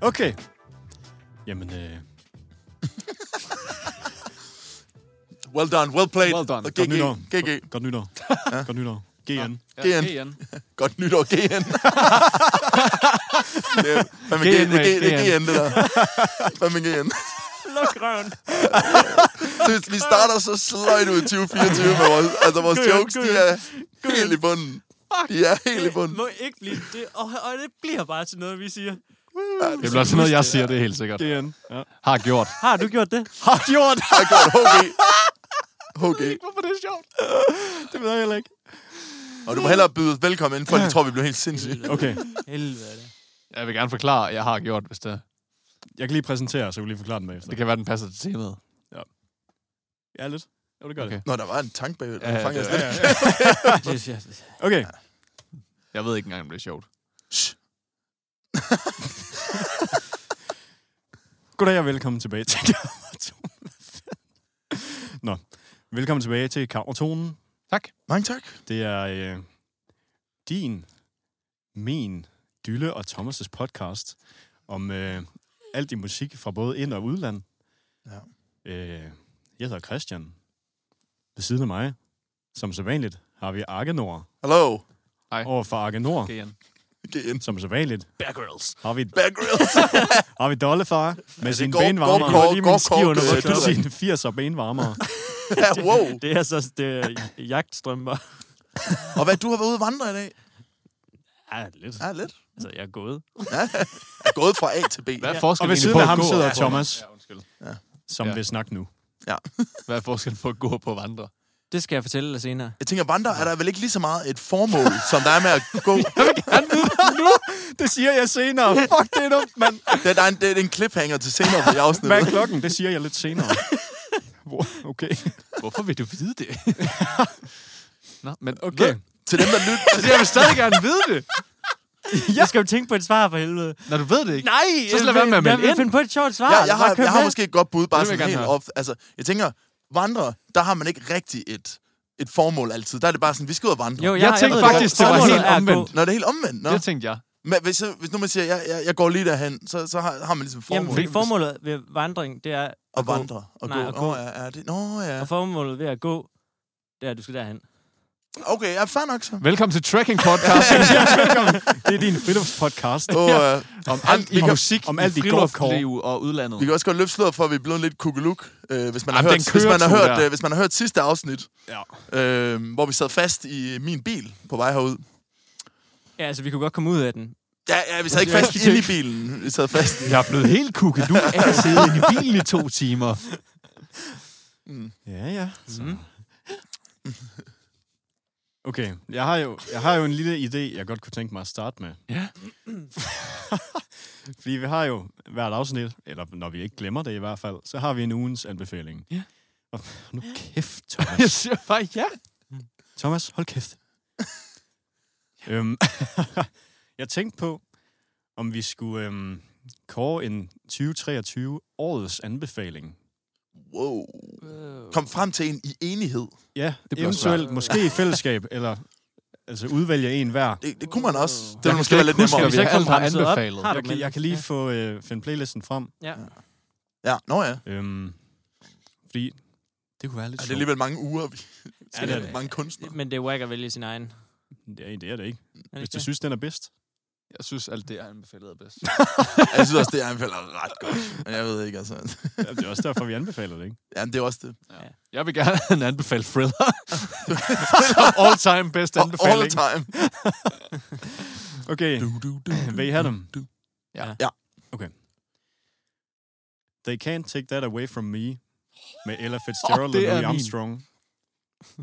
Okay. Jamen, øh, Well done, well played. well done. Og Godt nytår. GG. GG. Godt- Godt nytår. Godt nytår. GN. GN. GN. Godt nytår, GN. det er fandme GN, GN, det er G- det mate, er GN, det der. Fandme GN. Luk røven. Så vi starter så sløjt ud i 2024 med vores, altså vores Gud, jokes, Gud. de er helt i bunden. De er helt i Det bunden. må ikke blive det. Og, og det bliver bare til noget, vi siger. Det bliver sådan noget, jeg siger, det er helt sikkert. GN. Ja. Har gjort. Har du gjort det? Har gjort! Jeg har gjort HG. HG. Hvorfor det er sjovt? det ved jeg heller ikke. Og du må hellere byde os velkommen ind, for de tror, vi bliver helt sindssyge. Okay, Helvede. Jeg vil gerne forklare, at jeg har gjort, hvis det, jeg kan lige præsentere, så jeg kan lige forklare den bagefter. det kan være, den passer til temaet. Ja, lidt. Jo, det gør okay. Okay. det. Nå, der var en tank bagved. Ja, Den fanger det jeg var- slet ikke. Det, jeg, Okay. Jeg ved ikke engang, om det er sjovt. Shh. Goddag og velkommen tilbage til Kammertonen. Nå, velkommen tilbage til Kammertonen. Mange tak. Det er øh, din, min, Dylle og Thomas' podcast om øh, alt i musik fra både ind- og udland. Ja. Øh, jeg hedder Christian. Ved siden af mig, som sædvanligt, har vi Arkenor. Hello. Over for Arkenor, GN. GN. som sædvanligt, Bear Girls. har vi Bear Grylls. Har vi Dollefar med sin går- benvarmer? går- går- lige går- min ski går- under øh, vores Dylan. sine 80'er benvarmere. Ja, wow. Det er så det er jagtstrømper. Og hvad, du har været ude at vandre i dag? Ja, lidt. Ja, lidt. Altså, jeg er gået. Jeg er gået fra A til B. Hvad er Ja. Og forskellen ved egentlig siden på af at ham gå sidder og- Thomas. Ja, undskyld. som Ja. vil snakke nu. Hvad er forskellen på at gå og på at vandre? Det skal jeg fortælle dig senere. Jeg tænker, vandre er der vel ikke lige så meget et formål, som der er med at gå. Det siger jeg senere. Fuck, det er dumt, mand. Det er, der er en, det er en cliffhanger til senere på i Hvad er afsnittet. klokken? Det siger jeg lidt senere. Hvor- Okay. Hvorfor vil du vide det? Nå, men Okay. Ved, Til dem, der lytter. altså, jeg vil stadig gerne vide det. Ja. Jeg skal jo tænke på et svar for helvede. Når du ved det ikke. Nej! Så skal jeg være med at jeg melde vil ind. finde på et sjovt svar. Jeg, jeg, har, Bare kør jeg har med. måske et godt bud, bare Det vil jeg sådan gerne helt høre. op. Altså, jeg tænker, vandre, der har man ikke rigtig et, et formål altid. Der er det bare sådan, vi skal ud og vandre. Jo, Jo. jeg, Jeg har- tænkte ved faktisk, godt. det var Formålet helt er at gå. omvendt. Nå, det er helt omvendt. Nå. Det tænkte jeg. Men hvis, så- hvis nu man siger, jeg, jeg, jeg går lige derhen, så, så har, har man ligesom formål. Jamen, fordi formålet ved vandring, det er at, at gå. vandre. Og Nej, gå. at Nå, gå. ja, ja, det, nå, ja. Og formålet ved at gå, det er, at du skal derhen. Okay, ja, fair nok så. Velkommen til Tracking Podcast. Det er din friluftspodcast. Åh, ja. om alt i Vi kan- musik, om om alt alt i i golfkår. friluftsliv og udlandet. Vi kan også godt løfte sløret for, at vi er blevet lidt kugeluk, øh, hvis, man har Jamen, hørt, den hvis, man har køretur hørt, der. øh, hvis man har hørt sidste afsnit, Ja. øh, hvor vi sad fast i min bil på vej herud. Ja, altså, vi kunne godt komme ud af den. Ja, ja, vi sad ikke fast inde i bilen. Vi sad fast i. Jeg er blevet helt kukket. Du er siddet inde i bilen i to timer. Ja, ja. Så. Mm. Okay, jeg har, jo, jeg har jo en lille idé, jeg godt kunne tænke mig at starte med. Ja. Fordi vi har jo hvert afsnit, eller når vi ikke glemmer det i hvert fald, så har vi en ugens anbefaling. Ja. Og nu kæft, Jeg Thomas. siger bare ja. Thomas, hold kæft. øhm, jeg tænkte på, om vi skulle øhm, kåre en 2023 årets anbefaling. Wow. Kom frem til en i enighed. Ja, det bliver eventuelt svært. måske i fællesskab, eller altså udvælge en hver. Det, det kunne man også. Det Jeg ville måske kan slet være lidt ikke huske, nemmere. at vi Hvis jeg alle kom har bremset op, anbefalet. har du Jeg kan, dem? jeg kan lige Ja. få øh, finde playlisten frem. Ja. Ja, nå ja. Øhm, fordi det kunne være Ja, lidt det er alligevel mange uger, vi skal det er ja, det det. mange kunstnere. Men det er whack at vælge sin egen. Er sjovt. Ja, det er det ikke. det Hvis ikke du det? synes, den er bedst. Jeg synes, alt det, jeg anbefalede er bedst. Jeg synes også, det er en ret godt. Men jeg ved ikke, altså. Ja, Det er også derfor, vi anbefaler det, ikke? Jamen, det er også det. Jeg vil gerne anbefale Thriller. Som all time bedst All the anbefaling. time. Okay, Du, du, du. vil I have dem? Ja. Ja. Okay. They Can't Take That Away From Me med Ella Fitzgerald Åh, oh, det og er Louis min. Armstrong.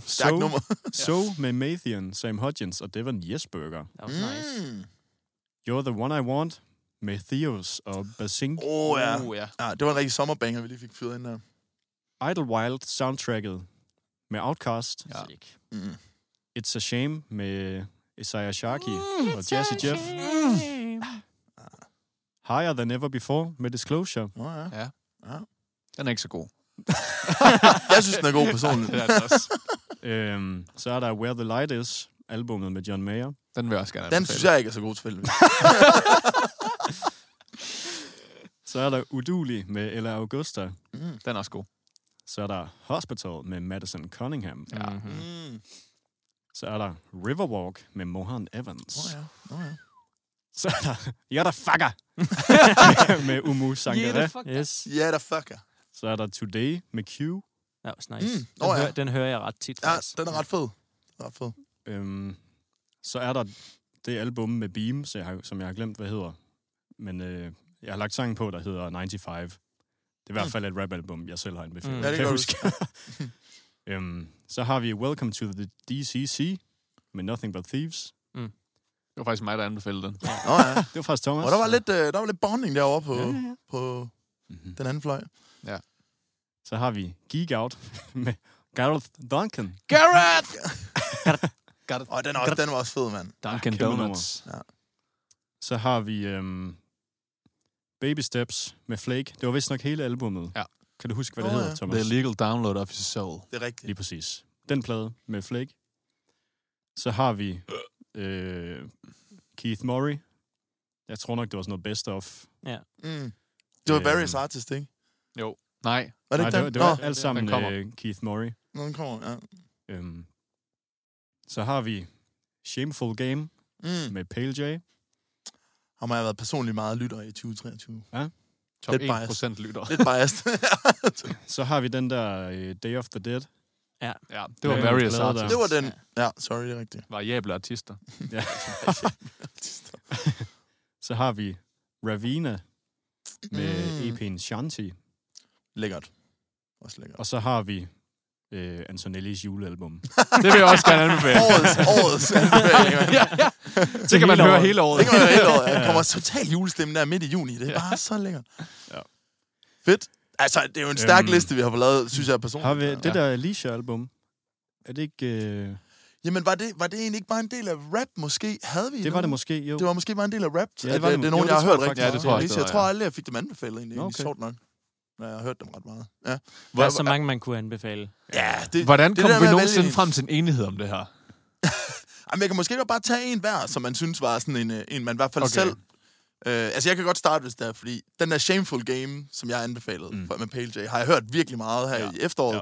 Stærkt So, nummer. so med Mathian, Sam Hodgins og Devon Jesberger. That was nice. Mm. You're the One I Want med Theos og Basink. Åh, Oh, ja. Uh, ja. ja. Ah, Det var en rigtig sommerbanger, vi lige fik fyret ind der. Idlewild soundtracket med Outcast. Ja. Sick. Mm. It's a Shame med Isaiah Sharkey og Jazzy Jeff. Higher Than Ever Before med Disclosure. Nå, ja. Den er ikke så god. Jeg synes, den er god personligt. Det er den altså også. Øhm, så er der Where the Light Is, albumet med John Mayer. Den vil jeg også gerne Den anbefale. synes jeg ikke er så god selvfølgelig. Så er der Udulig med Ella Augusta. Mm. Den er også god. Så er der Hospital med Madison Cunningham. Ja. Mm-hmm. Mm. Så er der Riverwalk med Mohan Evans. Nå ja, nå ja. Så er der Yada Fucker med Umu Sangare. Yes. Ja, der fucker. Så er der Today med Q. Ja, det var nice. Mm. Mm. Nå, den, ja. hører, den hører jeg ret tit, Ja, faktisk. den er ret fed. Den er Ret fed. Øhm, så er der det album med Beam, så jeg har, som jeg har glemt, hvad hedder. Men øh, jeg har lagt sangen på, der hedder 95. Det er i hvert Mm. fald et rap-album, jeg selv har anbefalet. Mm. Mm. Ja, det kan kan du jeg huske. øhm, så har vi Welcome to the DCC med Nothing But Thieves. Det var faktisk mig, der anbefalede den. Nå ja. Det var faktisk Thomas. Og der var lidt, øh, der var lidt bonding derovre på, Ja, ja, ja. på Mhm. den anden fløj. Så har vi Geek Out med Gareth Duncan. Garrett! Got it. Og den, er også, den var også fed, mand. Dunkin' Kæmpe nummer. Donuts. Så har vi øhm, Baby Steps med Flake. Det var vist nok hele albumet. Ja. Kan du huske, hvad det Nå, hedder, ja. Thomas? The illegal download of your soul. Det er rigtigt. Lige præcis. Den plade med Flake. Så har vi øh, Keith Murray. Jeg tror nok, det var sådan noget best of. Mm. Det var Øhm. Various Artist, ikke? Nej, Var det Nej, ikke det, den? var- det var Nå, alt den sammen kommer. øh, Keith Murray. Nå, den kommer, ja. Øhm, så har vi Shameful Game Mm. med Pale J. Ham har jeg været personligt meget lytter i 2023. top Lidt 1 procent lytter. Lidt biased. Så har vi den der øh, Day of the Dead. Ja, det var Ja, various glade der. artists. det var den. Ja, sorry, det er rigtigt. Variable artister. Ja. så har vi Ravina med E Mm. EP'en Shanti. Lækkert. Også lækkert. Og så har vi øh, Antonellis julealbum. Det vil jeg også gerne anbefale. Årets, årets anbefaling, mand. ja, ja. Det kan man hele høre året. hele året. Det kan man jo hele året. Der kommer total julestemning der midt i juni. Det er bare så lækkert. Ja. Fedt. Altså, det er jo en stærk Øhm. liste, vi har fået lavet, synes jeg personligt. Har vi det Oh, Ja. der Alicia-album? Er det ikke... Øh, Jamen, var det, var det egentlig ikke bare en del af rap, måske? Havde vi det var det måske, jo. Det var måske bare en del af rap. Ja, Ja, det det, var det, det det er måske. Jo, nogen, jeg har det hørt tror jeg rigtig faktisk, meget. det tror Alicia, jeg jeg også, det var, tror ja. aldrig, jeg fik dem anbefalet egentlig. Nå, Okay. okay. Sjovt nok. Ja, jeg har hørt dem ret meget. Ja, Der er så mange, man kunne anbefale. ja det, Hvordan der kommer med vi at nogensinde vælge- frem til en enighed om det her? Jamen, jeg kan måske godt bare tage en hver, som man synes var sådan en, øh, en man i hvert fald Okay. okay. selv... Øh, altså, jeg kan godt starte, hvis det er, fordi den der Shameful Game, som jeg anbefalede Mm. mm. med Pale J, har jeg hørt virkelig meget her Ja. ja. i efteråret. Ja.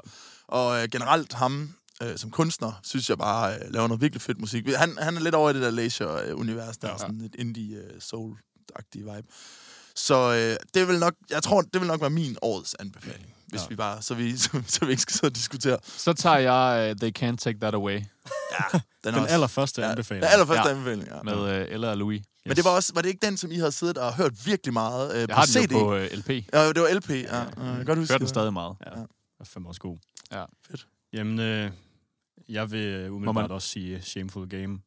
Ja. Og øh, generelt ham øh, som kunstner, synes jeg bare øh, laver noget virkelig fedt musik. Han, han er lidt over i det der Leisure-univers, der ja. Ja. er sådan et indie øh, soul-agtig vibe. Så øh, det vil nok, jeg tror, det vil nok være min årets anbefaling, hvis Ja. ja. vi bare, så vi, så, så vi ikke skal sidde og diskutere. Så tager jeg uh, They Can't Take That Away Ja, den, Den også- allerførste ja, anbefaling. Den allerførste Ja. ja. anbefaling, ja. med uh, Ella og Louis. Men det var også var det ikke den, som I havde siddet og hørt virkelig meget øh, Jeg på har CD? den jo på uh, LP. Ja, det var LP, ja. ja, øh, ja. Jeg kan godt huske Hører den det. stadig meget. er fandme også god. Ja. Fedt. Jamen, øh, jeg vil øh, umiddelbart man- også sige Shameful Game.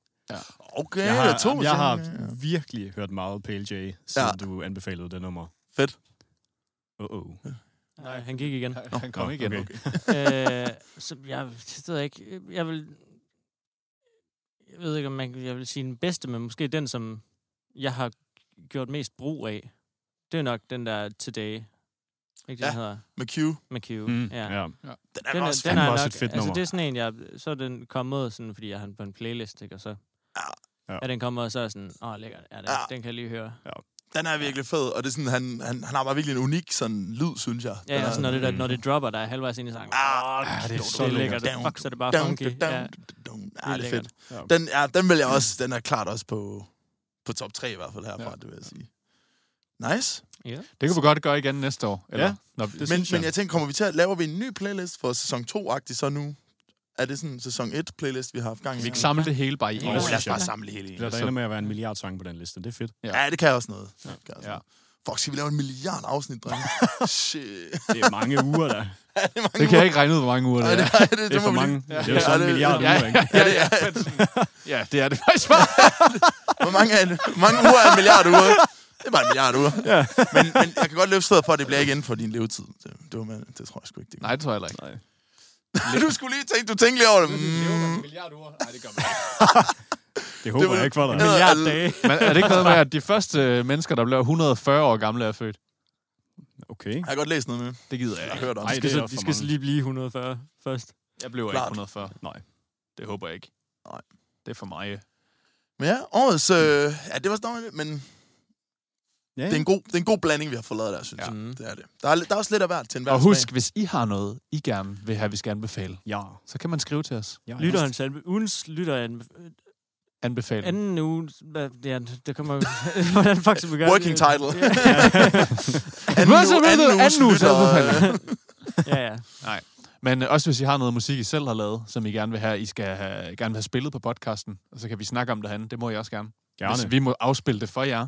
Okay, jeg der er to har, jeg sange, har ja. virkelig hørt meget Pale J, siden Ja. du anbefalede det nummer. Fedt. Oh, oh. Nej, han gik igen. Han kom Nå, igen. okay. øh, så jeg, det ved jeg ikke. Jeg vil... Jeg ved ikke, om man, jeg vil sige den bedste, men måske den, som jeg har gjort mest brug af. Det er nok den der Today. Ikke den Ja. ja. hedder? Med Q. Den Med Q. Mm, ja. ja. er, den også den fandme er også også et fedt nummer. Altså, det er sådan en, jeg, så er den kommet, sådan, fordi jeg har den på en playlist, ikke? Og så Ja. ja. er den kommet, og så er jeg sådan, åh, lækker, ja, den, Ja. ja. den kan jeg lige høre. Den er virkelig fed, og det er sådan, han, han, han har bare virkelig en unik sådan, lyd, synes jeg. Ja, ja, sådan, når, det der, Mm. når det dropper, der er halvvejs ind i sangen. Ah, Åh, det er kæft, så det er lækkert. lækkert. Down, Fuck, så er det bare down, funky. down, Ja. down. er Ja, Ah, det er fedt. lækkert. Ja. Den, ja, den vil jeg også, den er klart også på, på top 3 i hvert fald herfra, Ja. ja. det vil jeg sige. Nice. Det kunne vi godt gøre igen næste år. Eller? Ja. Nå, Det Men, synes jeg. men jeg tænker, kommer vi til at, laver vi en ny playlist for sæson 2-agtig så nu? Er det sådan en sæson 1-playlist, vi har haft gang i? vi kan samle det hele bare i Åh, en. Åh, lad os synes jeg. bare samle det hele i. Det er der ender med at være en milliard sange på den liste. Det er fedt. Ja, det kan jeg også noget. Ja. Ja. Kan jeg også Ja. ja. Fuck, skal vi lave en milliard afsnit, drenge? Shit. Det er mange uger, der. Er det, mange Det kan jeg ikke regne ud, hvor mange uger uger? det Nej, er. det, det, det, Det er må for vi mange. lige- Det er jo sådan en det- milliard Ja, uger, ikke? ja, Ja, det er, ja, det er det faktisk bare. hvor mange, er det? Hvor mange uger er en milliard uger? Det er bare en milliard uger. Ja. Men, men jeg kan godt løfte stedet for, at det bliver ikke inden for din levetid. Det, det, var, man- det tror jeg sgu ikke. Det Nej, det tror jeg heller ikke. Nej. du skulle lige tænke, du tænkte lige over det. Mm. milliard uger. Nej, det gør man ikke. Det håber var- jeg ikke for dig. Ja. Milliard Alle- dage. Men er det ikke noget med, at de første øh, mennesker, der bliver 140 år gamle, er født? Okay. Jeg har godt læst noget med. Det gider jeg Jeg har ikke. hørt om. Ej, De det skal, er så, også de for skal så mange. lige blive 140 først. Jeg blev ikke Klart. 140. Nej. Det håber jeg ikke. Nej. Det er for mig. Men ja, årets... Øh, ja, det var sådan lidt, men Ja, det er, en god, det er en god blanding, vi har fået lavet der, synes Ja. ja. jeg. Mm. Det er det. Der er, der er også lidt af hvert til enhver Og husk, smag. hvis I har noget, I gerne vil have, vi skal anbefale, ja. så kan man skrive til os. ja Lytterens anbe- ugens lytter anbe- Anbefale. anden uge, hvad, ja, det kommer, hvordan fuck skal vi gøre det? Working title. Ja, Anden, Hvad så, hvad så? uges Anden uges lytter, anbefaling. øh, ja, ja. Men øh, også hvis I har noget musik, I selv har lavet, som I gerne vil have, I skal have, gerne vil have spillet på podcasten, og så kan vi snakke om det herinde. Det må I også gerne. gerne. Hvis vi må afspille det for jer.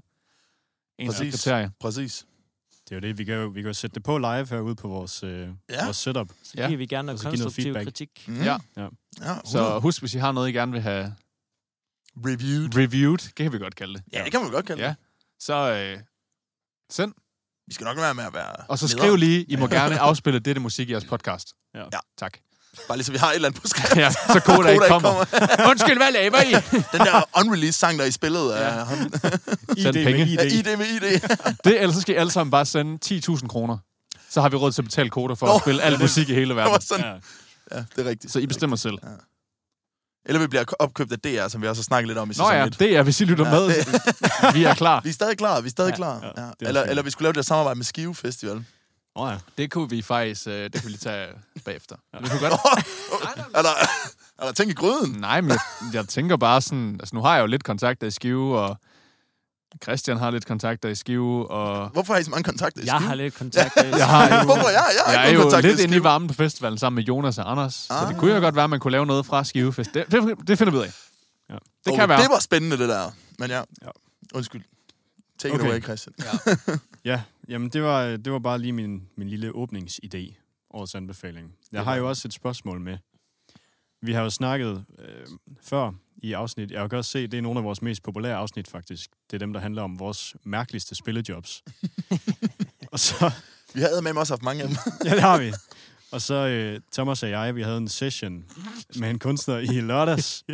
En Præcis. kriterie. Præcis. Det er jo det, vi kan jo, vi kan jo sætte det på live herude på vores, øh, ja. Ja. vores setup. Så Ja. giver vi gerne Og noget så give noget konstruktiv feedback. kritik. Mm. Ja. ja Så så... husk, hvis I har noget, I gerne vil have Reviewed. reviewed, det kan vi godt kalde det, Ja, det kan man godt kalde Ja. ja. så øh, send. Vi skal nok lade være med at være Og så nederen. skriv lige, I må gerne afspille dette musik i jeres podcast. Ja. Ja. Tak. Bare lige så vi har et eller andet på skrift. Ja, så Koda ikke kommer. Undskyld, hvad laver I? Den der unreleased sang, der er i spillet. Ja. Er, ham- Send penge. Med er ID. ID med ID. Det, ellers så skal I alle sammen bare sende 10.000 kroner. Så har vi råd til at betale koder for at Nå. spille al musik i hele Det verden. var sådan. Ja. Ja, det er rigtigt. Så I bestemmer selv. Eller vi bliver opkøbt af DR, som vi også har snakket lidt om i Nå sæson ja, 1. det er, hvis I lytter Ja, med. det- Vi er klar. Vi er stadig klar, vi er stadig Ja, ja, ja, klar. Ja, det er også Eller, fint. eller vi skulle lave det der samarbejde med Skive Festival. Oh, ja. Det kunne vi faktisk, øh, det kunne vi lige tage bagefter. Ja. Vi kunne godt... er, der, er der ting i gryden? Nej, men jeg, jeg tænker bare sådan, altså nu har jeg jo lidt kontakter i Skive, og Christian har lidt kontakter i Skive, og Hvorfor har I så mange kontakter i Jeg Skive? har lidt kontakt. jeg har jo, Hvorfor? Jeg, jeg, har ikke jeg er nogen jo kontakter lidt i inde i Skive. varmen på festivalen sammen med Jonas og Anders, ah. så det Ah. kunne jo godt være, at man kunne lave noget fra Skivefest. Det, det, det finder vi ud af. Ja. Ja. Det kan være. Oh, Det var spændende, det der. Men ja, Ja. undskyld. Take okay. Okay. it away, Christian. ja, jamen det var, øh, det var bare lige min, min lille åbningsidé, årets anbefaling. Jeg har jo også et spørgsmål med. Vi har jo snakket øh, før i afsnit, jeg kan også se, det er nogle af vores mest populære afsnit faktisk. Det er dem, der handler om vores mærkeligste spillejobs. og så, Vi havde med også haft mange af dem. Ja, det har vi. Og så øh, Thomas og jeg, vi havde en session med en kunstner i lørdags.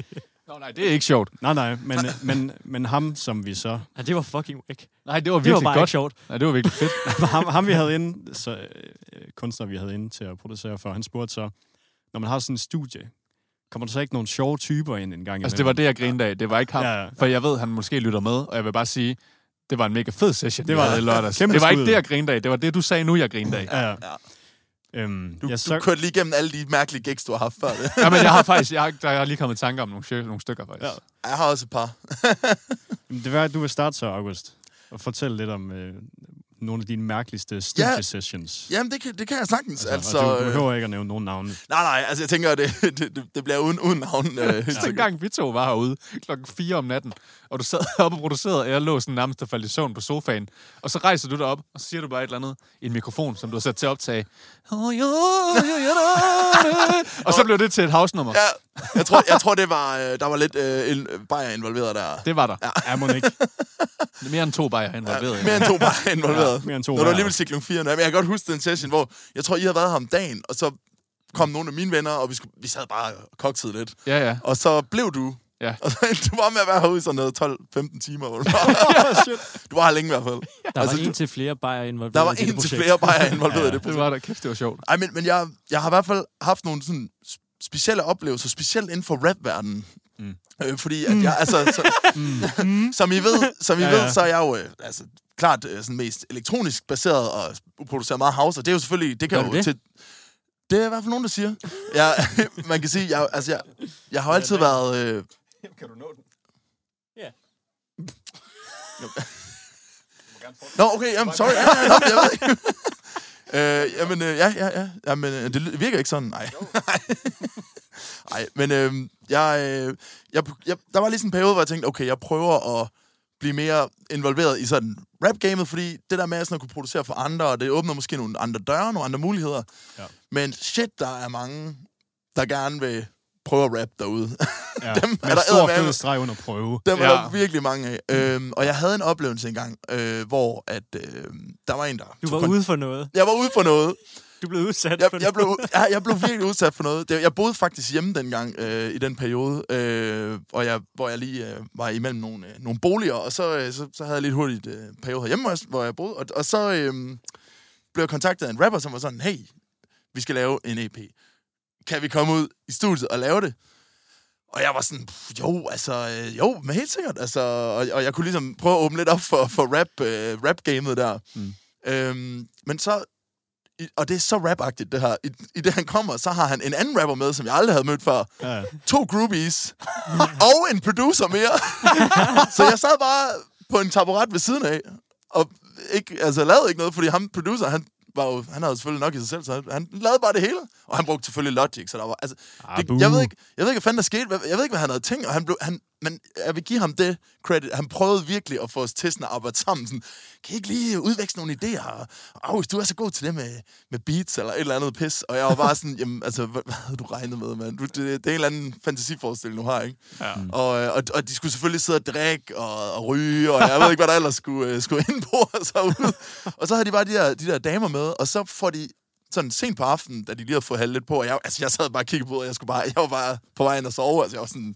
Nå, nej, det er ikke sjovt. Nej, nej, men, men, men ham, som vi så... Ja, det var fucking whack. Nej, det var Det var virkelig bare ikke godt. sjovt. Nej, det var virkelig fedt. Ham, ham vi havde inde, så, øh, kunstner, vi havde inde til at producere for, han spurgte så, når man har sådan en studie, kommer der så ikke nogle sjove typer ind en gang altså, det var det, jeg grinede af. Det var ikke ham. Ja, ja. For jeg ved, han måske lytter med, og jeg vil bare sige, det var en mega fed session, Det det var var det. i lørdags. Kæmpe det var ikke skud. det, jeg grinede af. Det var det, du sagde nu, jeg grinede af. Ja, Ja. ja. Øhm, Du, ja, så... du så, kørte lige igennem alle de mærkelige gigs, du har haft før. det. Ja, men jeg har faktisk, jeg har, der har lige kommet i tanke om nogle, sjø- nogle stykker, faktisk. Ja. Jeg har også et par. Jamen, det var, at du vil starte så, August, og fortælle lidt om øh, nogle af dine mærkeligste studiesessions. Jamen, det kan, det kan jeg sagtens. Altså, og du øh, behøver ikke at nævne nogen navne. nej, nej, altså jeg tænker, det, det, det- det bliver uden, uden navn. Øh, Den gang vi to var herude klokken 4 om natten, og du sad oppe og producerede, og jeg lå sådan nærmest og faldt i søvn på sofaen. Og så rejser du dig op, og så siger du bare et eller andet i en mikrofon, som du har sat til at optage. Og så blev det til et housenummer. ja, jeg, tror, jeg tror, det var, øh, der var lidt øh, en, bajer involveret der. Det var der. Ja, må ikke. Mere end to bajer involveret. Mere end to bare involveret. Ja, mere end to Når du bajer. alligevel cyklon 4. Men jeg kan godt huske den session, hvor jeg tror, I havde været her om dagen, og så kom nogle af mine venner, og vi, skulle, vi sad bare og koktede lidt. Ja, ja. Og så blev du. Ja. Og så endte du bare med at være herude i sådan noget 12-15 timer. hvor du var- du var her længe i hvert fald. Der Altså, var en du- til flere bajer involveret Der var i dette en til projekt. flere bare involveret i det Det var der. Kæft, det var sjovt. Ej, men, men jeg, jeg har i hvert fald haft nogle sådan sp- specielle oplevelser, specielt inden for rapverdenen. Mm. Mm. Øh, fordi at jeg, altså, så, mm. som I ved, som I ja, Ja, ja. ja. ved, så er jeg jo øh, altså, klart øh, sådan mest elektronisk baseret og producerer meget house, og det er jo selvfølgelig, det kan Gør jo du det? til... Det er i hvert fald nogen, der siger. Jeg, man kan sige, jeg, altså, jeg, jeg har jo altid været... Øh, Kan du nå den? Nå, okay, jamen, sorry. Ja, ja, jamen, jeg ved ikke. Øh, jamen, øh, ja, ja, ja. Jamen, øh, det ly- virker ikke sådan. Nej. Nej, men øh, jeg, øh, jeg, jeg, der var lige sådan en periode, hvor jeg tænkte, okay, jeg prøver at blive mere involveret i sådan rap-gamet, fordi det der med at sådan at kunne producere for andre, og det åbner måske nogle andre døre, nogle andre muligheder. Ja. Ja. Men shit, der er mange, der gerne vil prøve at rap derude. Ja. Dem med er en der stor eddermame- fed streg under prøve. Dem er Ja. der virkelig mange af. Øhm, og jeg havde en oplevelse engang, øh, hvor at, øh, der var en, der... Du tog var kon- ude for noget. Jeg var ude for noget. Du blev udsat for Jeg, noget. jeg, blev, jeg, jeg blev virkelig udsat for noget. Det, jeg boede faktisk hjemme dengang øh, i den periode, øh, og jeg, hvor jeg lige øh, var imellem nogle, øh, nogle boliger, og så, øh, så, så havde jeg lidt hurtigt øh, periode herhjemme, hvor jeg, hvor jeg boede. Og, og så øh, blev jeg kontaktet af en rapper, som var sådan, E hey, vi skal lave en EP. Kan vi komme ud i studiet og lave det? Og jeg var sådan, pff, jo, altså, øh, jo, men helt sikkert. Altså, og, og jeg kunne ligesom prøve at åbne lidt op for, for rap, øh, rap-gamet der. Mm. Mm. Øhm, men så, i- og det er så rapagtigt det her. I, I det, han kommer, så har han en anden rapper med, som jeg aldrig havde mødt før. Ja. To groupies. og en producer mere. så jeg sad bare på en taburet ved siden af. Og ikke, altså, lavede ikke noget, fordi ham producer, han var jo, han havde selvfølgelig nok i sig selv, så han, han lavede bare det hele. Og han brugte selvfølgelig Logic, så der var, altså, Ah, det, jeg, ved ikke, jeg ved ikke, hvad fanden der skete. Hvad- Jeg ved ikke, hvad han havde tænkt, og han blev, han, men jeg vil give ham det credit. Han prøvede virkelig at få os til sådan at arbejde sammen. Sådan, kan I ikke lige udveksle nogle idéer? Og, August, du er så god til det med, med beats eller et eller andet pis. Og jeg var bare sådan, jamen, altså, hvad, hvad havde du regnet med, mand? Du, det, det, er en eller anden fantasiforestilling, du har, ikke? Ja. Og, øh, og, og de skulle selvfølgelig sidde og drikke og, og ryge, og jeg ved ikke, hvad der ellers skulle, øh, skulle ind på og så ud. Og så havde de bare de der, de der damer med, og så får de sådan sent på aftenen, da de lige havde fået halv lidt på, og jeg, altså, jeg sad bare og kiggede på, og jeg, skulle bare, jeg var bare på vej ind og sove, altså jeg var sådan,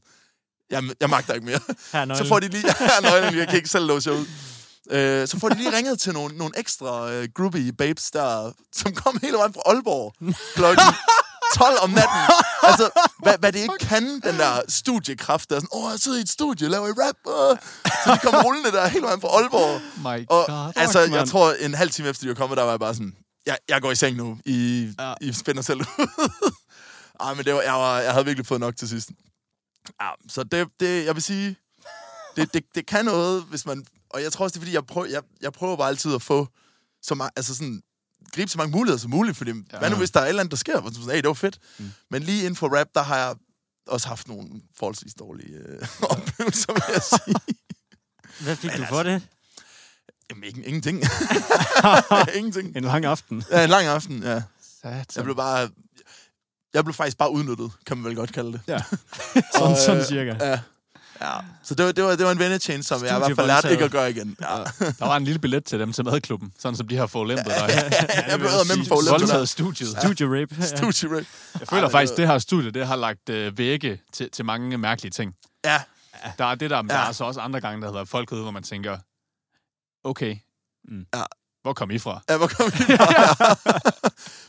jeg, jeg magter ikke mere. Her Så får de lige, ja, nøglen, jeg kan ikke selv låse jer ud. Øh, så får de lige ringet til nogle, nogle ekstra øh, groupie babes, der, som kom hele vejen fra Aalborg klokken 12 om natten. Altså, hvad, hvad det ikke kan, den der studiekraft, der er sådan, åh, jeg sidder i et studie, laver I rap? Øh. Så de kom rullende der hele vejen fra Aalborg. My Og God. altså, Fuck, jeg mand. tror, en halv time efter de var kommet, der var jeg bare sådan, jeg, jeg går i seng nu, I, ja. I spænder selv ud. Ej, men det var, jeg, var, jeg havde virkelig fået nok til sidst. Ja, så det, det jeg vil sige, det, det, det kan noget, hvis man... Og jeg tror også, det er, fordi jeg prøver, jeg, jeg prøver bare altid at få så meget, altså sådan, gribe så mange muligheder som muligt, fordi ja. hvad nu, hvis der er et eller andet, der sker, hvor sådan, hey, det var fedt. Mm. Men lige inden for rap, der har jeg også haft nogle forholdsvis dårlige øh, oplevelser, vil jeg sige. Hvad fik du for det? Jamen, ingen, ingenting. ingenting. En lang aften. Ja, en lang aften, ja. Satan. Jeg blev bare... Jeg blev faktisk bare udnyttet, kan man vel godt kalde det. Ja. sådan, Og, øh, sådan cirka. Ja. ja. Så det var, det var, det var en vendetjeneste, som jeg i hvert fald lærte Studievoldtaget. ikke at gøre igen. Ja. Der var en lille billet til dem til madklubben, sådan som de har forlæmpet dig. jeg blev æder med for Voldtaget studiet. Studio rape. Ja. Studie Jeg føler faktisk, det her studie, det har lagt øh, vægge til, til mange mærkelige ting. Ja. Der er det der, men der Ja. er så også andre gange, der har været folk ude, hvor man tænker, okay, Mm. Ja. hvor kom I fra? ja, hvor kom vi fra?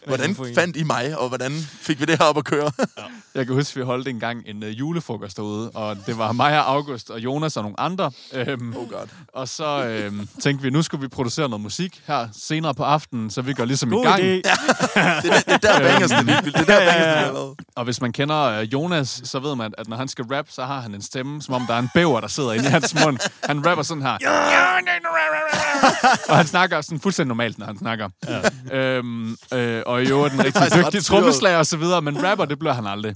hvordan for en? fandt I mig, og hvordan fik vi det her op at køre? Jeg kan huske, vi holdt engang en øh, julefrokost derude, og det var mig og August og Jonas og nogle andre. Øhm, oh god. og så øhm, tænkte vi, nu skulle vi producere noget musik her senere på aftenen, så vi går ligesom God i gang. idé. Det er der, det er der bangersen er vildt. Det er der bangersen er lavet. Og hvis man kender øh, Jonas, så ved man, at når han skal rap, så har han en stemme, som om der er en bæver, der sidder inde i hans mund. Han rapper sådan her. og han snakker sådan fuldstændig normalt, når han snakker. Ja. Øhm, øh, og i øvrigt en rigtig faktisk ret dygtig syret. trommeslager og så videre, men rapper, det bliver han aldrig.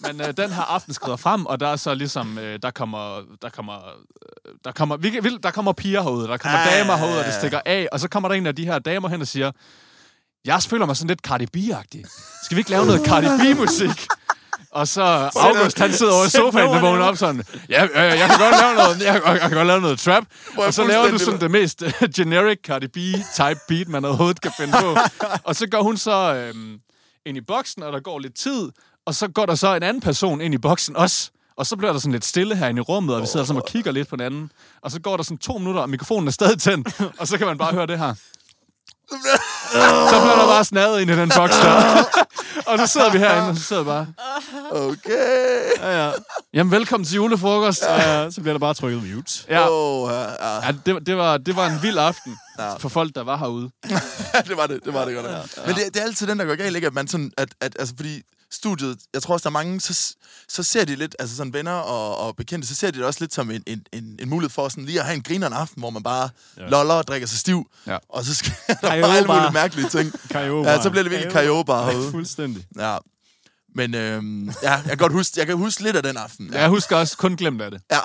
Men øh, den her aften skrider frem, og der er så ligesom, øh, der kommer, der kommer, øh, der kommer, vi, kan- vil- der kommer piger herude, der kommer Ah. damer herude, og det stikker af, og så kommer der en af de her damer hen og siger, jeg føler mig sådan lidt Cardi B-agtig. Skal vi ikke lave noget Cardi B-musik? Og så August, han sidder over i sofaen og vågner op sådan, ja, øh, jeg kan godt lave noget, jeg, jeg kan godt lave noget trap. er Og så laver du fuldstændig- sådan det mest generic Cardi B-type beat, man overhovedet kan finde på. Og så går hun så øhm, ind i boksen, og der går lidt tid, og så går der så en anden person ind i boksen også. Og så bliver der sådan lidt stille herinde i rummet, og vi sidder sådan og kigger lidt på hinanden. Og så går der sådan to minutter, og mikrofonen er stadig tændt, og så kan man bare høre det her. Så bliver der bare snadet ind i den boks der. og så sidder vi herinde, og så sidder vi bare... Okay. Jamen, velkommen til julefrokost. Ja, så bliver der bare trykket mute. Ja, Oh, ja, ja. ja det, det, var, det var en vild aften for folk, der var herude. det var det, det var det godt. nok. Men det, det er altid den, der går galt, ikke? At man sådan, at, at, altså fordi studiet, jeg tror også, der er mange, så, så ser de lidt, altså sådan venner og, og bekendte, så ser de det også lidt som en, en, en, en mulighed for sådan lige at have en grineren aften, hvor man bare ja. loller og drikker sig stiv, Ja. og så sker der bare Karaoke alle mulige bar. mærkelige ting. Karaoke ja, så bliver det virkelig karaoke bare herude. Fuldstændig. Ja. Men øhm, ja, jeg kan godt huske, jeg kan huske lidt af den aften. Ja. Ja. Jeg husker også kun glemt af det. Ja.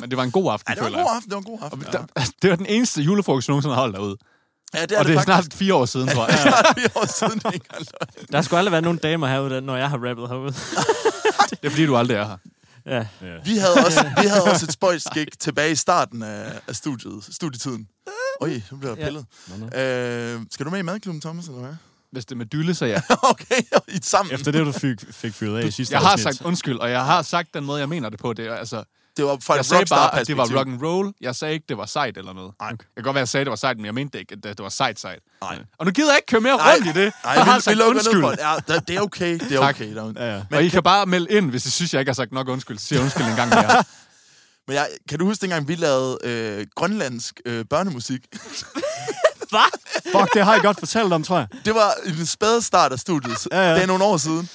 Men det var en god aften, Ja, det var en føler god jeg. aften, det var en god aften. Der, det var den eneste julefrokost, jeg nogensinde har holdt derude. Ja, det Og det er faktisk. snart fire år siden, tror jeg. snart fire år siden, det ikke er løgn. Der skulle aldrig være nogen damer herude, når jeg har rappet herude. Det er fordi, du aldrig er her. Ja. Vi havde også, vi havde også et spøjs gig tilbage i starten af, af studiet, studietiden. Oj, nu bliver jeg Ja. pillet. Ja. Øh, skal du med i madklubben, Thomas, eller hvad? Hvis det er med dylle, så ja. okay, i sammen. Efter det, du fik, fik fyret af i sidste Jeg har afsnit. sagt undskyld, og jeg har sagt den måde, jeg mener det på. Det er altså Det var fra Jeg et sagde bare, at det rockstar-perspektiv. var rock and roll. Jeg sagde ikke, det var sejt eller noget. Nej. Jeg kan godt være, at jeg sagde, at det var sejt, men jeg mente ikke, at det det var sejt sejt. Nej. Og nu gider jeg ikke køre mere rundt i det. Nej, Jeg har vi, vi sagt lukker ned undskyld. for det. Ja, det- det er okay. Det er Tak. okay. Der, Ja, ja. Men og I kan bare melde ind, hvis I synes, jeg ikke har sagt nok undskyld. Så siger jeg undskyld en gang mere. Men jeg, kan du huske dengang, vi lavede øh, grønlandsk øh, børnemusik? Hvad? Fuck, det har jeg godt fortalt om, tror jeg. Det var i den spæde start af studiet. Ja, ja. Det er nogle år siden.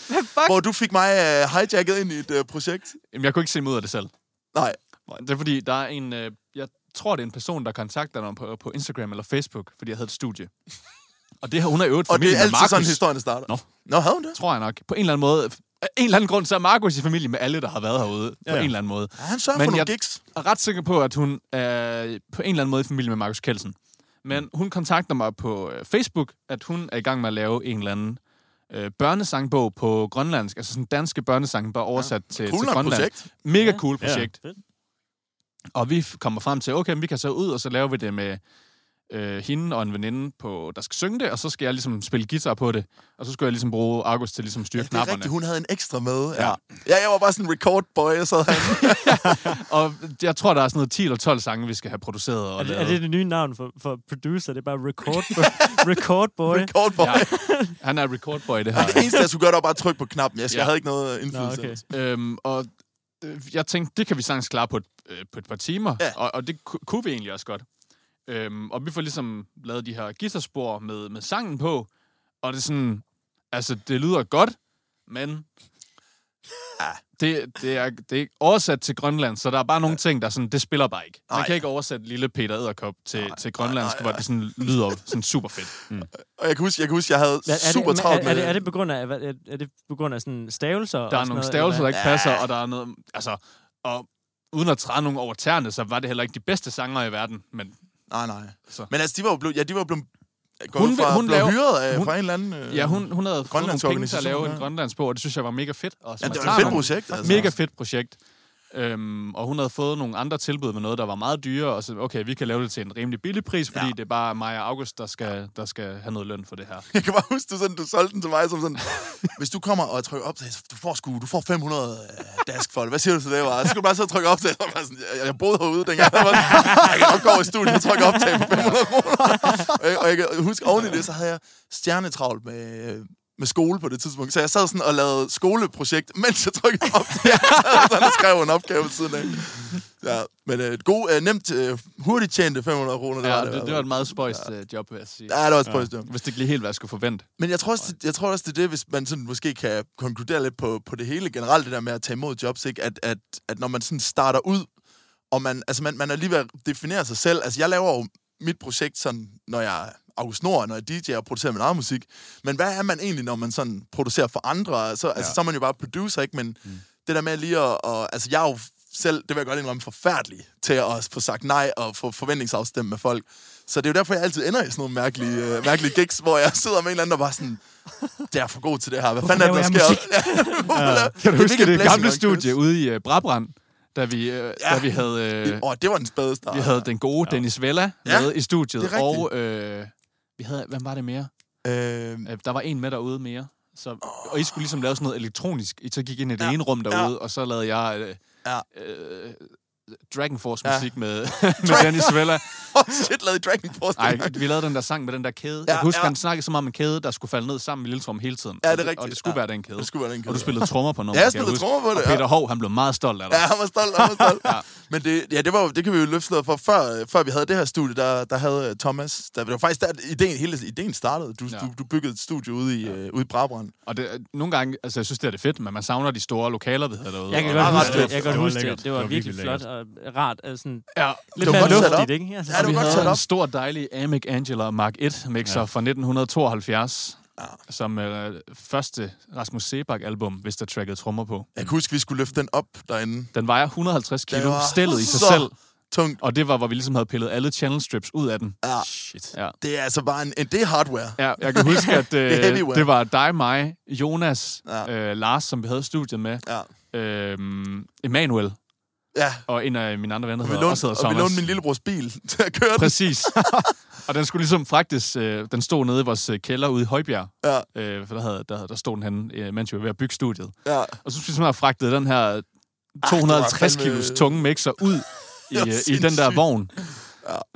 Hvor du fik mig øh, hijacket ind i et øh, projekt. Jamen, jeg kunne ikke se mig ud af det selv. Nej. Det er fordi, der er en... Øh, jeg tror, det er en person, der kontakter mig på, på Instagram eller Facebook, fordi jeg havde et studie. Og det har hun er øvet Og det familie er altid med Markus, sådan, historien starter. Nå. Nå, havde hun det? tror jeg nok. På en eller anden måde... Af en eller anden grund, så er Markus i familie med alle, der har været herude. Ja, Ja. På ja. en eller anden måde. Ja, han sørger Men for nogle jeg- gigs. er ret sikker på, at hun er på en eller anden måde i familie med Markus Kelsen. Men hun kontakter mig på øh, Facebook, at hun er i gang med at lave en eller anden øh, børnesangbog på grønlandsk. Altså sådan danske børnesange, bare oversat ja, til, Cool til nok Grønland. projekt. Mega Ja. cool Ja. projekt. Fedt. Og vi f- kommer frem til, okay, men vi kan så ud, og så laver vi det med øh, hende og en veninde, på, der skal synge det, og så skal jeg ligesom spille guitar på det. Og så skal jeg ligesom bruge Argus til ligesom at Ja, styre ja, det er knapperne. rigtigt, hun havde en ekstra med. Ja. Ja. ja, jeg var bare sådan en record boy, og så havde han... Og jeg tror, der er sådan noget 10 eller 12 sange, vi skal have produceret. Og Altså, Er det, lavet. er det det nye navn for, for producer? Det er bare record, record boy. record boy. Ja. Ja, han er record boy, det her. Det eneste, jeg skulle gøre, det var bare at trykke på knappen. Jeg, skal, Ja. jeg havde ikke noget øh, Nå, indflydelse. okay. Øhm, og øh, jeg tænkte, det kan vi sagtens klare på et, øh, på et par timer, Ja. ja. og, og det ku, kunne vi egentlig også godt. Øhm, og vi får ligesom lavet de her guitarspor med, med sangen på, og det er sådan, altså det lyder godt, men det, det, er, det er ikke oversat til Grønland, så der er bare nogle ting, der er sådan, det spiller bare ikke. Man Nej. kan ikke oversætte lille Peter Æderkop til, til grønlandsk, hvor det sådan lyder sådan Mm. super fedt. Og jeg kan huske, jeg, kan huske, jeg havde Hvad- er super det, travlt er, er, det, er det på grund af, hvad- er, er det på grund af sådan stavelser? og Der er sådan nogle noget, stavelser, der eller ikke passer, og der er noget... Altså, og uden at træde nogen over tæerne, så var det heller ikke de bedste sanger i verden, men Nej, nej. Så. Men altså, de var jo blevet... Ja, de var blevet jeg går Hun ud vil- fra, hun blev laver- hyret af, hun- fra en eller anden... Øh, Ja, hun, hun havde fået nogle Grønlandsk penge til at lave organisation, en ja. grønlandsbog, og det synes jeg var mega fedt. Og så Ja, det man var et fedt tager projekt. nogle- Altså. Mega fedt projekt. Øhm, og hun havde fået nogle andre tilbud med noget, der var meget dyrere, og så, okay, vi kan lave det til en rimelig billig pris, fordi Ja. ja. det er bare mig og August, der skal, der skal have noget løn for det her. Jeg kan bare huske, du, sådan, du solgte den til mig som sådan... Hvis du kommer og trykker optagelse, du får sgu, du får 500 øh, dask for det. Hvad siger du til det, var? Så skulle du bare sidde og trykke optagelse. Og bare sådan, jeg, jeg boede herude dengang. Jeg, var sådan, jeg kan nok gå over i studiet og trykke optag på 500 kroner. og, jeg, og jeg kan huske, oven i det, så havde jeg stjernetravlt med, med skole på det tidspunkt. Så jeg sad sådan og lavede skoleprojekt, mens jeg trykkede op. Jeg sad sådan og skrev en opgave ved siden af. Ja, men øh, et god, øh, nemt, øh, hurtigt tjente 500 kroner. Ja, i det, hvert det var fald. et meget spøjst øh, job, vil jeg sige. Ja, det var et spøjst, ja. Hvis det ikke lige helt, hvad jeg skulle forvente. Men jeg tror, også, det, jeg tror også, det er det, hvis man sådan måske kan konkludere lidt på, på det hele generelt, det der med at tage imod jobs, ikke? At, at, at når man sådan starter ud, og man, altså man, man er lige ved at definere sig selv. Altså jeg laver jo mit projekt sådan, når jeg er August Nord, når jeg DJ'er og producerer min eget musik. Men hvad er man egentlig, når man sådan producerer for andre? Altså, ja. altså så er man jo bare producer, ikke? Men mm. det der med lige at... Og, altså jeg er jo selv, det vil jeg godt indrømme, forfærdelig til at få sagt nej og få forventningsafstemme med folk. Så det er jo derfor, jeg altid ender i sådan nogle mærkelige, øh, mærkelige gigs, hvor jeg sidder med en eller anden, der bare sådan, det er for god til det her. Hvad fanden er det, der laver jeg sker? Ja, Kan du huske det gamle studie ude i øh, Brabrand, da vi, øh, ja. da vi havde... øh, Åh, oh, det var en spæde start. Vi havde den gode Dennis Vella Ja, ja, med i studiet, det er og øh, vi havde, hvem var det mere? Øh, Øh, der var en med derude mere. Så, og I skulle ligesom lave sådan noget elektronisk. I så gik ind i det Ja, ja, ene rum ja. derude, ja. og så lavede jeg øh, Ja. ja. øh, Dragon Force Ja. musik med, med Dennis Vella. oh, shit, lavede I Dragon Force Nej, dengang? vi lavede den der sang med den der kæde. Ja, Ja, jeg kan huske, ja. ja. han snakkede så meget om en kæde, der skulle falde ned sammen i Lilletrum hele tiden. Ja, Og det er Og rigtigt. det skulle Ja. ja. være den kæde. Det skulle være den Og du kæde, spillede trommer på Ja, nummeret, jeg kan spillede huske. trommer på det. Og Peter Hov, han blev meget stolt af dig. Ja, han var stolt, han var stolt. ja. Men det, ja, det, var, jo- det kan vi jo løfte sløret for. Før, øh, før vi havde det her studie, der, der havde øh, Thomas... Der, det var faktisk der, ideen, hele ideen startede. Du, ja. Ja. du, du byggede et studie ude i, ja. øh, ude i Brabrand. Og det, nogle gange, altså jeg synes, det er det fedt, men man savner de store lokaler, vi havde derude. Jeg kan Og- godt meget huske fedt. det. Jeg kan Det var godt huske lækkert. det. Det var virkelig flot og rart. Altså, sådan, Ja, lidt var mere godt sat op. luftigt, ikke? Altså, Ja, det vi var godt sat havde op. en stor, dejlig Amic Angela Mark 1 mixer ja. fra 1972, ja. som øh, første Rasmus Sebak-album, hvis der trackede trommer på. Jeg kan huske, vi skulle løfte den op derinde. Den vejer 150 Den kilo, var stillet i sig så selv, Tungt. og det var, hvor vi ligesom havde pillet alle channel strips ud af den. Ja, Shit. Ja. det er altså bare en... en det er hardware. Ja, jeg kan huske, at øh, er heavyweight. det, det var dig, mig, Jonas, Ja. ja. øh, Lars, som vi havde i studiet med, Ja. øh, Emanuel Ja. og en af mine andre venner, Og der vi hedder, også lånte, hedder og vi Thomas. lånte min lillebrors bil til at køre den. Præcis. og den skulle ligesom faktisk, øh, den stod nede i vores øh, kælder ude i Højbjerg, Ja, øh, for der, havde, der, havde- der stod den henne, øh, mens vi var ved at bygge studiet. ja. Og så skulle vi simpelthen have fragtet den her 250 fandme- kilos tunge mixer ud i, var øh, i den der sindssygt. vogn.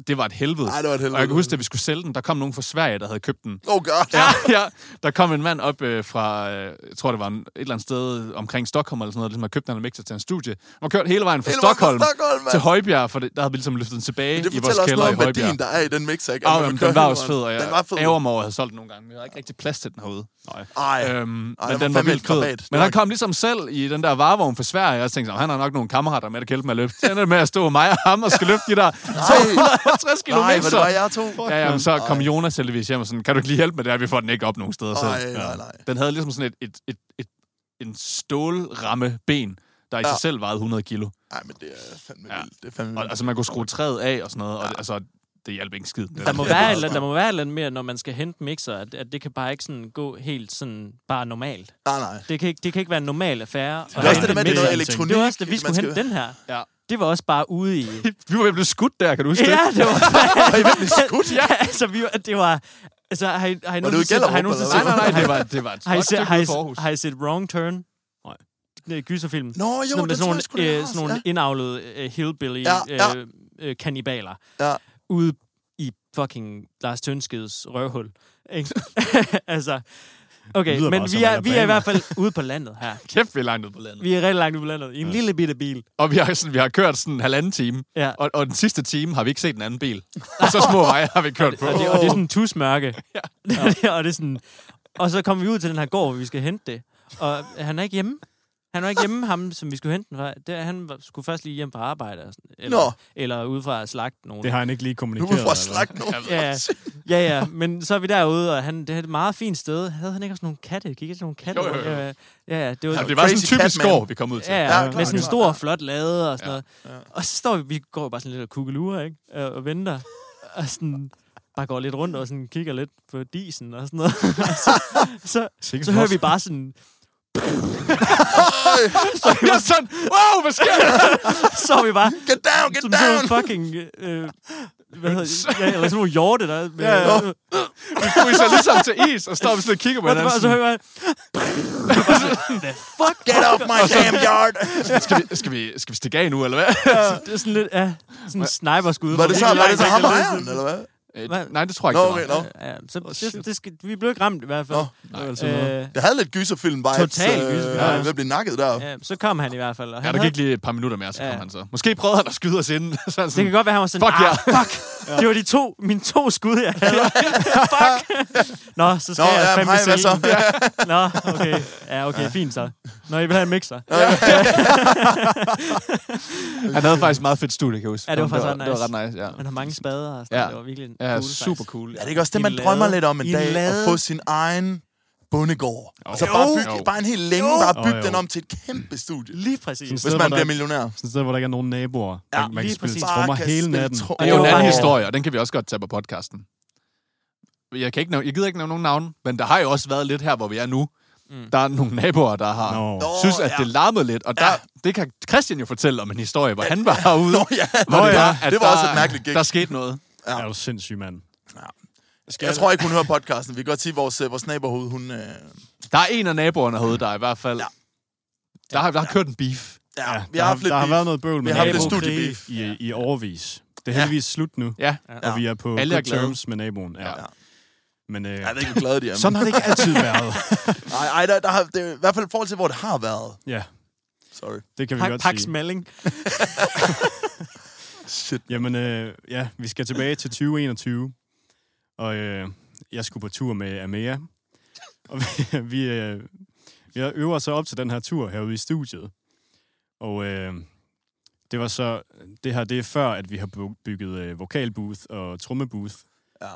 Det var et helvede. Ej, det var et helvede. Og jeg kan huske, da vi skulle sælge den, der kom nogen fra Sverige, der havde købt den. Oh god. Ja, ja. Der kom en mand op øh, fra, øh, jeg tror det var en, et eller andet sted omkring Stockholm eller sådan noget, der ligesom havde købt den her mixer til en studie. Han var kørt hele vejen fra Hele vejen fra Stockholm, Stockholm, mand. til Højbjerg, for det, der havde vi ligesom løftet den tilbage Det i vores fortæller også kælder noget i om værdien, Højbjerg. der er i den mixer, ikke? At Ah, man jamen, kører den var hele også vejen. fed, og Den var jeg fed. ærger mig over, at jeg havde solgt den nogle gange. Vi havde ikke rigtig plads til den herude. Nej. Ej. Øhm, Ej, den men den var var fandme vildt fed. krabat. Men han kom ligesom selv i den der varevogn fra Sverige, og jeg tænkte, sådan, han har nok nogle kammerater med, der kan hjælpe mig at løbe. Så ender det med at stå mig og ham og skal løfte de der 250 km. Nej, men det var jer to. Ja, ja, men så kom Jonas heldigvis hjem og sådan, kan du ikke lige hjælpe med det her? Vi får den ikke op nogen steder Nej, selv. nej, Ja. nej. Den havde ligesom sådan et, et, et, et en stålramme ben, der i Ja. Mm. sig selv vejede 100 kilo. Nej, men det er fandme Ja. vildt. Det er fandme Og, vildt. altså, man kunne skrue træet af og sådan noget, og det, altså, det hjalp ikke skid. Der må, være et, eller andet- der må være et eller andet mere, når man skal hente mixer, at, at det kan bare ikke sådan gå helt sådan bare normalt. Nej, nej. Det kan ikke, det kan ikke være en normal affære. at Det er også hente det der med, en det er noget mixer. elektronik. Det var også det, vi man skulle skal- hente den her. Ja. Det var også bare ude i... Vi var ved at blive skudt der, kan du huske ja, det? det var... Var I virkelig skudt? ja, altså, vi var, det var... Altså, har I, har I ude i nogensinde set- har Gellerup, I nogensinde eller Nej, set... hvad? nej, nej, det var, det var et Har I, godt set, stykke har, ude I, for Aarhus. har I set Wrong Turn? Nej. Det er gyserfilm. Nå, jo, sådan, med det tror sådan, jeg sgu, det altså. nogle, var. øh, sådan nogle indavlede øh, hillbilly Ja, ja, ja. ja. Øh, øh, kannibaler Ja. ude i fucking Lars Tønskeds røvhul. Ikke? altså, Det okay, lyder men bare vi som er, vi er i Alabama. hvert fald ude på landet her. Kæft, vi er langt ud på landet. Vi er rigtig langt ude på landet i en ja. lille bitte bil. Og vi har, sådan, vi har kørt sådan en halvanden time, Ja. og, og den sidste time har vi ikke set en anden bil. Og så små veje har vi kørt på. Og det, og det er sådan tusmørke. Ja. og, det er sådan, og så kommer vi ud til den her gård, hvor vi skal hente det. Og han er ikke hjemme. Han var ikke hjemme, ham, som vi skulle hente den fra. Det, han var, skulle først lige hjem fra arbejde. og sådan- Eller, Nå. eller ud fra at slagte nogen. Det har han ikke lige Nu kommunikeret. er vi fra eller hvad? slagt nu. Ja, ja, ja, men så er vi derude, og han, det er et meget fint sted. Havde han ikke også nogle katte? Gik ikke sådan nogle katte? Jo, jo, jo. Ja, ja, ja, det var, Ja, det var sådan en Crazy typisk Catman. skov, vi kom ud til. ja, Ja, ja, klart, med sådan en klart. stor, flot lade og sådan Ja, noget. Og så står vi, vi går jo bare sådan lidt og kuggelurer, ikke? Og, og venter. Og sådan, bare går lidt rundt og sådan kigger lidt på disen og sådan noget. Og så, så, så, Sikkert så hører flot. vi bare sådan, Og jeg er sådan, wow, hvad sker der? så er vi bare, Get down, get som sådan down! nogle fucking, øh, hvad hedder det? Ja, eller sådan nogle hjorte, der... Med, Ja, ja. Vi fryser ligesom til is, og står vi sådan og kigger på Og, og så hinanden. hører jeg, Get off my damn yard! sådan, Skal vi, skal, vi, skal vi stikke af nu, eller hvad? det er sådan lidt, ja, sådan en sniperskud. Var hvor det så, ikke var det så rigtig ham og ved- ejeren, eller hvad? Øh, Nej, det tror jeg Nå, ikke, okay, det nå. Ja, ja, så det, det skal, vi blev ikke ramt i hvert fald. Nå, Nå, øh, Det havde lidt gyserfilm-vibes. Total øh, gyserfilm, ja, ja. Ved at blive nakket der. ja, så kom han i hvert fald. Og Ja, han der havde, gik lige et par minutter mere, så kom Ja. han så. Måske prøvede han at skyde os ind. så han det kan sådan, godt være, han var sådan, Fuck "Ah, ja." fuck, det var de to, mine to skud, jeg havde. fuck. Nå, så skal Nå, jeg ja, fandme hej, hvad så? sælge den. Nå, okay. Ja, okay, fint så. Nå, I vil have en mixer. han havde faktisk et meget fedt studie, kan jeg huske. Ja, det var faktisk ret Det var nice. ret nice, ja. Han har mange spader og sådan. Ja. Det var virkelig en Ja, cool, super faktisk. cool. Er det ikke også det, I man en drømmer lade. lidt om en I en dag? At lade. få sin egen bondegård. Altså Jo. bare, bygge, Jo. bare en hel længe, bare bygge Jo, jo. den om til et kæmpe studie. Lige præcis. Sådan Hvis sted, man hvor bliver der- millionær. Sådan et sted, hvor der ikke er nogen naboer. Ja, Ja, man lige kan spille præcis. trommer Bare hele kan natten. spille Og det er jo en Åh. anden historie, og den kan vi også godt tage på podcasten. Jeg, kan ikke nævne, jeg gider ikke nævne nogen navne, men der har jo også været lidt her, hvor vi er nu. Mm. Der er nogle naboer, der har Nå. no. synes, at Nå, ja. det larmede lidt. Og der, Ja. det kan Christian jo fortælle om en historie, hvor han var herude. Nå ja, Hvor det, var, at det var der, også et mærkeligt gig. Der skete noget. Ja. Er du sindssyg, mand? Jeg tror ikke, hun hører podcasten. Vi kan godt sige, at vores, øh, vores nabohoved, hun... Øh, Der er en af naboerne herude, der er i hvert fald... Ja. Ja. Der har, der har kørt en beef. ja, Ja, vi har haft der, lidt der har beef. været noget bøvl Vi med har haft lidt naboen studiebeef. i, i overvis. Det er Ja. heldigvis slut nu, Ja. og vi er på Alle er good glade. terms med naboen. Ja. Ja. Men øh, Jeg ved ikke, hvor glade de er. sådan har det ikke altid været. Nej, ej, der, der har, det, er i hvert fald i forhold til, hvor det har været. ja, Sorry. det kan vi Pak, godt pak sige. smelling. Shit. Jamen, øh, ja, vi skal tilbage til 2021. Og øh, jeg skulle på tur med Amea. Og vi, vi, øh, vi øver så op til den her tur herude i studiet. Og øh, det var så... Det her, det er før, at vi har bu- bygget øh, vokalbooth og trommebooth. Ja.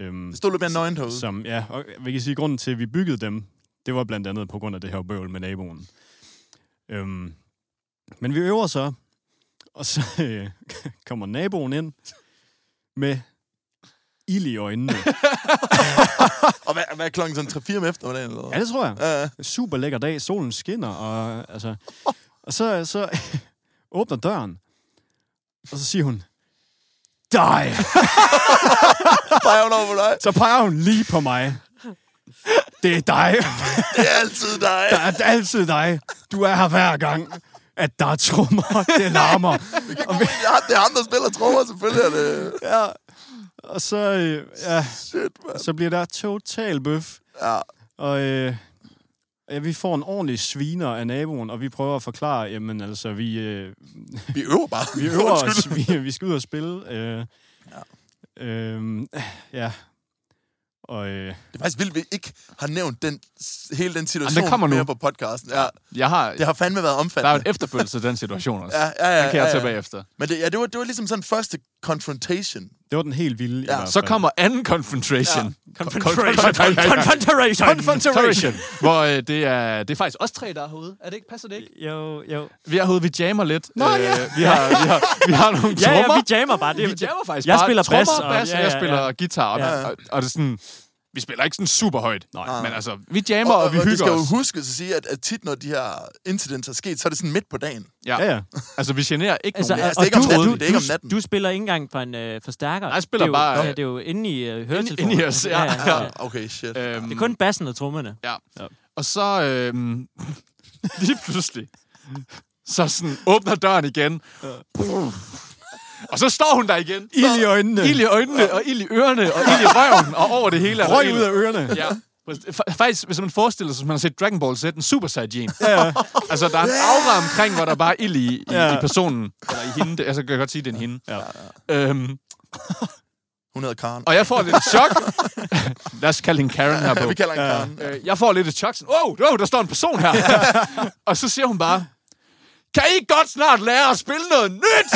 Øhm, Det stod lidt mere nøgent herude. som, ja, og vi kan sige, at grunden til, at vi byggede dem, det var blandt andet på grund af det her bøvl med naboen. Øhm, men vi øver så, og så øh, kommer naboen ind med ild i øjnene. Og hvad, hvad er klokken sådan 3-4 om eftermiddagen? Eller? Ja, det tror jeg. Ja, ja. Super lækker dag, solen skinner, og, altså, og så, så åbner døren, og så siger hun, dig! Peger hun over på dig? Så peger hun lige på mig. Det er dig! Det er altid dig. Der er altid dig. Du er her hver gang. at der er trommer, og det larmer. Ja, det er ham, der spiller trommer, selvfølgelig. Er det. ja. Og så, øh, ja, Shit, man. så bliver der total bøf. Ja. Og øh, ja, vi får en ordentlig sviner af naboen, og vi prøver at forklare, jamen altså, vi, øh, Vi øver bare. vi øver Undskyld. os, vi, vi skal ud og spille. Øh, ja. Øh, ja. Og øh, Det er faktisk vildt, vi ikke har nævnt den, hele den situation Jamen, den kommer nu. mere på podcasten. Ja, Jeg har, det har fandme været der er jo omfattende. en efterfølgelse af den situation også. Ja, ja, ja, den kan jeg ja, tage ja. bagefter. Men det, ja, det, var, det var ligesom sådan første confrontation. det var den helt vilde i Ja, hvert Så fald. kommer anden confrontation. Confrontation. Confrontation. Hvor øh, det, er, det er faktisk os tre, der er herude. Er det ikke? Passer det ikke? Jo, jo. Vi er herude, vi jammer lidt. Nå, ja. vi, har, vi, har, vi har nogle Ja, trommer. ja, vi jammer bare. Det, vi jammer faktisk jeg bare spiller trommer, bas, og, bas, ja, ja, ja. jeg spiller guitar. Og, Ja. ja. og, og det er sådan, vi spiller ikke sådan super højt, Nej. men altså, vi jammer, Og, og, og vi det skal hygger jo os. huske at sige, at, at tit når de her incidents er sket, så er det sådan midt på dagen. Ja, ja. Altså, vi generer ikke Altså, altså, nogen. altså, det er ikke om natten, det er ikke om natten. Du spiller ikke engang på en øh, forstærker. Nej, jeg spiller det er jo, bare, øh, Ja, det er jo inde i øh, høretelefonen. inde i os, ja. ja, ja. Ah, Okay, shit. Øhm, Det er kun bassen og trommerne. Ja. ja. Og så øhm, lige pludselig, så sådan åbner døren igen. Og så står hun der igen. Ild i øjnene. Ild i øjnene, og ild i ørerne, og ild i røven, og over det hele. er der Røg ild. ud af ørerne. Ja. Fa- Faktisk, hvis man forestiller sig, hvis man har set Dragon Ball Z, en Super Saiyan. Ja. Altså, der er en aura omkring, hvor der bare er ild i, i, Ja. i personen. Eller i hende. Det- Altså, kan jeg godt sige, det er en hende. Ja. Øhm, Hun hedder Karen. og jeg får lidt chok. Lad os kalde hende Karen her på. Ja, vi kalder hende Karen. Ja. Øh, jeg får lidt et chok, sådan, wow, wow, der står en person her. og så siger hun bare, kan I ikke godt snart lære at spille noget nyt?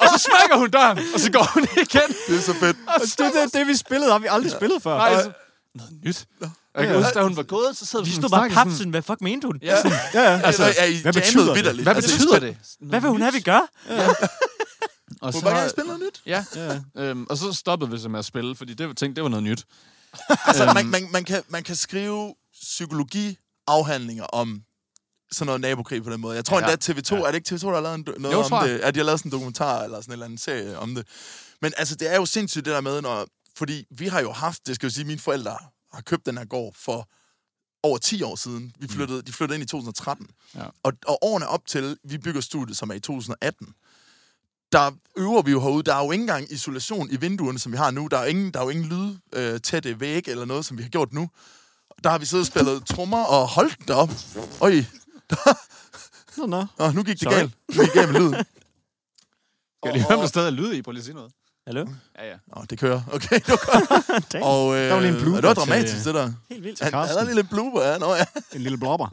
og så smækker hun døren, og så går hun igen. Det er så fedt. Og Og så, det, det, det, vi spillede, har vi aldrig spillet før. nej, så, noget nyt. Og Jeg kan huske, da hun var gået, så sad Vi sådan stod og bare snakkede sådan, papsen. Hvad fuck mente hun? Ja, sådan, Ja, ja. Altså, er I hvad jammede betyder det? vitterligt? hvad Altså, betyder det? Hvad vil hun have, vi gør? Og Hun vil bare gerne spille noget nyt. Ja, øhm, og så stoppede vi så med at spille, fordi det, tænkte, det var noget nyt. Altså, Øhm. man, man, man, kan, man kan skrive psykologiafhandlinger om sådan noget nabokrig på den måde. Jeg tror Ja. endda TV2, er det ikke TV2, der har lavet en, do- noget Jo, om tror jeg. det? At de har lavet sådan en dokumentar eller sådan en eller anden serie om det. Men altså, det er jo sindssygt det der med, når, fordi vi har jo haft, det skal jeg jo sige, mine forældre har købt den her gård for over 10 år siden. Vi flyttede, De flyttede ind i 2013. Mm. Ja. Og, og årene op til, vi bygger studiet, som er i 2018, der øver vi jo herude. Der er jo ikke engang isolation i vinduerne, som vi har nu. Der er jo ingen, der er jo ingen lyd øh, tætte væg eller noget, som vi har gjort nu. Der har vi siddet og spillet trommer og holdt den op. Øj, Nå, nå. Nå, nu gik det Sorry. galt. Nu gik det galt med lyden. Skal jeg lige høre, om der stadig er lyd i? Prøv lige at sige noget. Hallo? Ja, ja. Nå, det kører. Okay, det var godt. og, øh, Der var lige en blooper og Det var til- dramatisk, det der. Helt vildt. Han, han Carsten. havde lige lidt blooper, ja. Nå, ja. En lille blobber.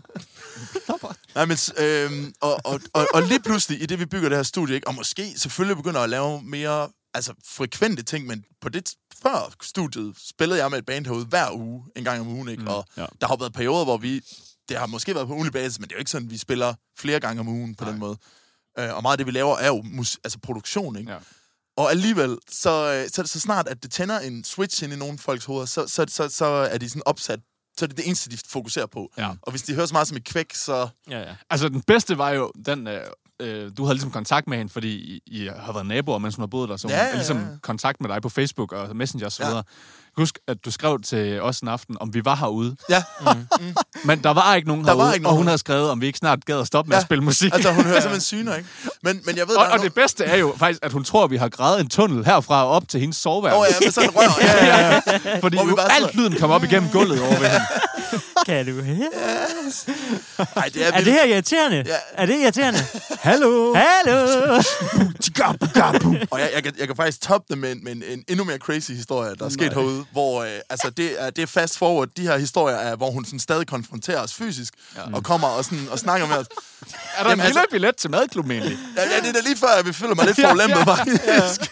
Nej, men, s- øhm, og, og, og, og lige pludselig, i det vi bygger det her studie, ikke, og måske selvfølgelig begynder at lave mere altså, frekvente ting, men på det t- før studiet spillede jeg med et band herude hver uge, en gang om ugen, ikke? og ja. der har jo været perioder, hvor vi, det har måske været på ugenlig basis, men det er jo ikke sådan, vi spiller flere gange om ugen på Nej. den måde. Øh, og meget af det, vi laver, er jo mus- altså produktion, ikke? Ja. Og alligevel, så, øh, så, så snart at det tænder en switch ind i nogle folks hoveder, så, så, så, så er de sådan opsat. Så er det det eneste, de fokuserer på. Ja. Og hvis de hører så meget som et kvæk, så... Ja, ja. Altså, den bedste var jo den... Øh, øh, du havde ligesom kontakt med hende, fordi I, I har været naboer, mens hun har boet der, så hun Ja, ja, ja, ja. er ligesom kontakt med dig på Facebook og Messenger osv. Ja. Ja. Husk, at du skrev til os en aften, om vi var herude. Ja, Men der var ikke nogen Der var herude, ikke og nogen. hun havde skrevet, om vi ikke snart gad at stoppe med Ja. at spille musik. altså hun hører simpelthen syner, ikke? Men, men jeg ved, og, der er og det bedste er jo faktisk, at hun tror, at vi har gravet en tunnel herfra og op til hendes soveværelse. Nå, ja, med sådan en rør. Ja, ja, ja. Fordi Hvor vi jo, bare alt sidder- lyden kom op igennem gulvet over ved hende. Kan du høre? Ej, det er, Er det her irriterende? Ja. Er det irriterende? Hallo! Hallo! Og jeg, jeg, kan, jeg kan faktisk toppe det med, en, med en, en endnu mere crazy historie, der er sket herude, hvor øh, altså, det, er, det er fast forward. De her historier er, hvor hun sådan stadig konfronterer os fysisk, ja. og kommer og, sådan, og snakker med os. Er der Jamen, en lille altså- billet til madklubben egentlig? Ja, ja, det er da lige før, at vi føler mig lidt forulempet, ja, ja. faktisk.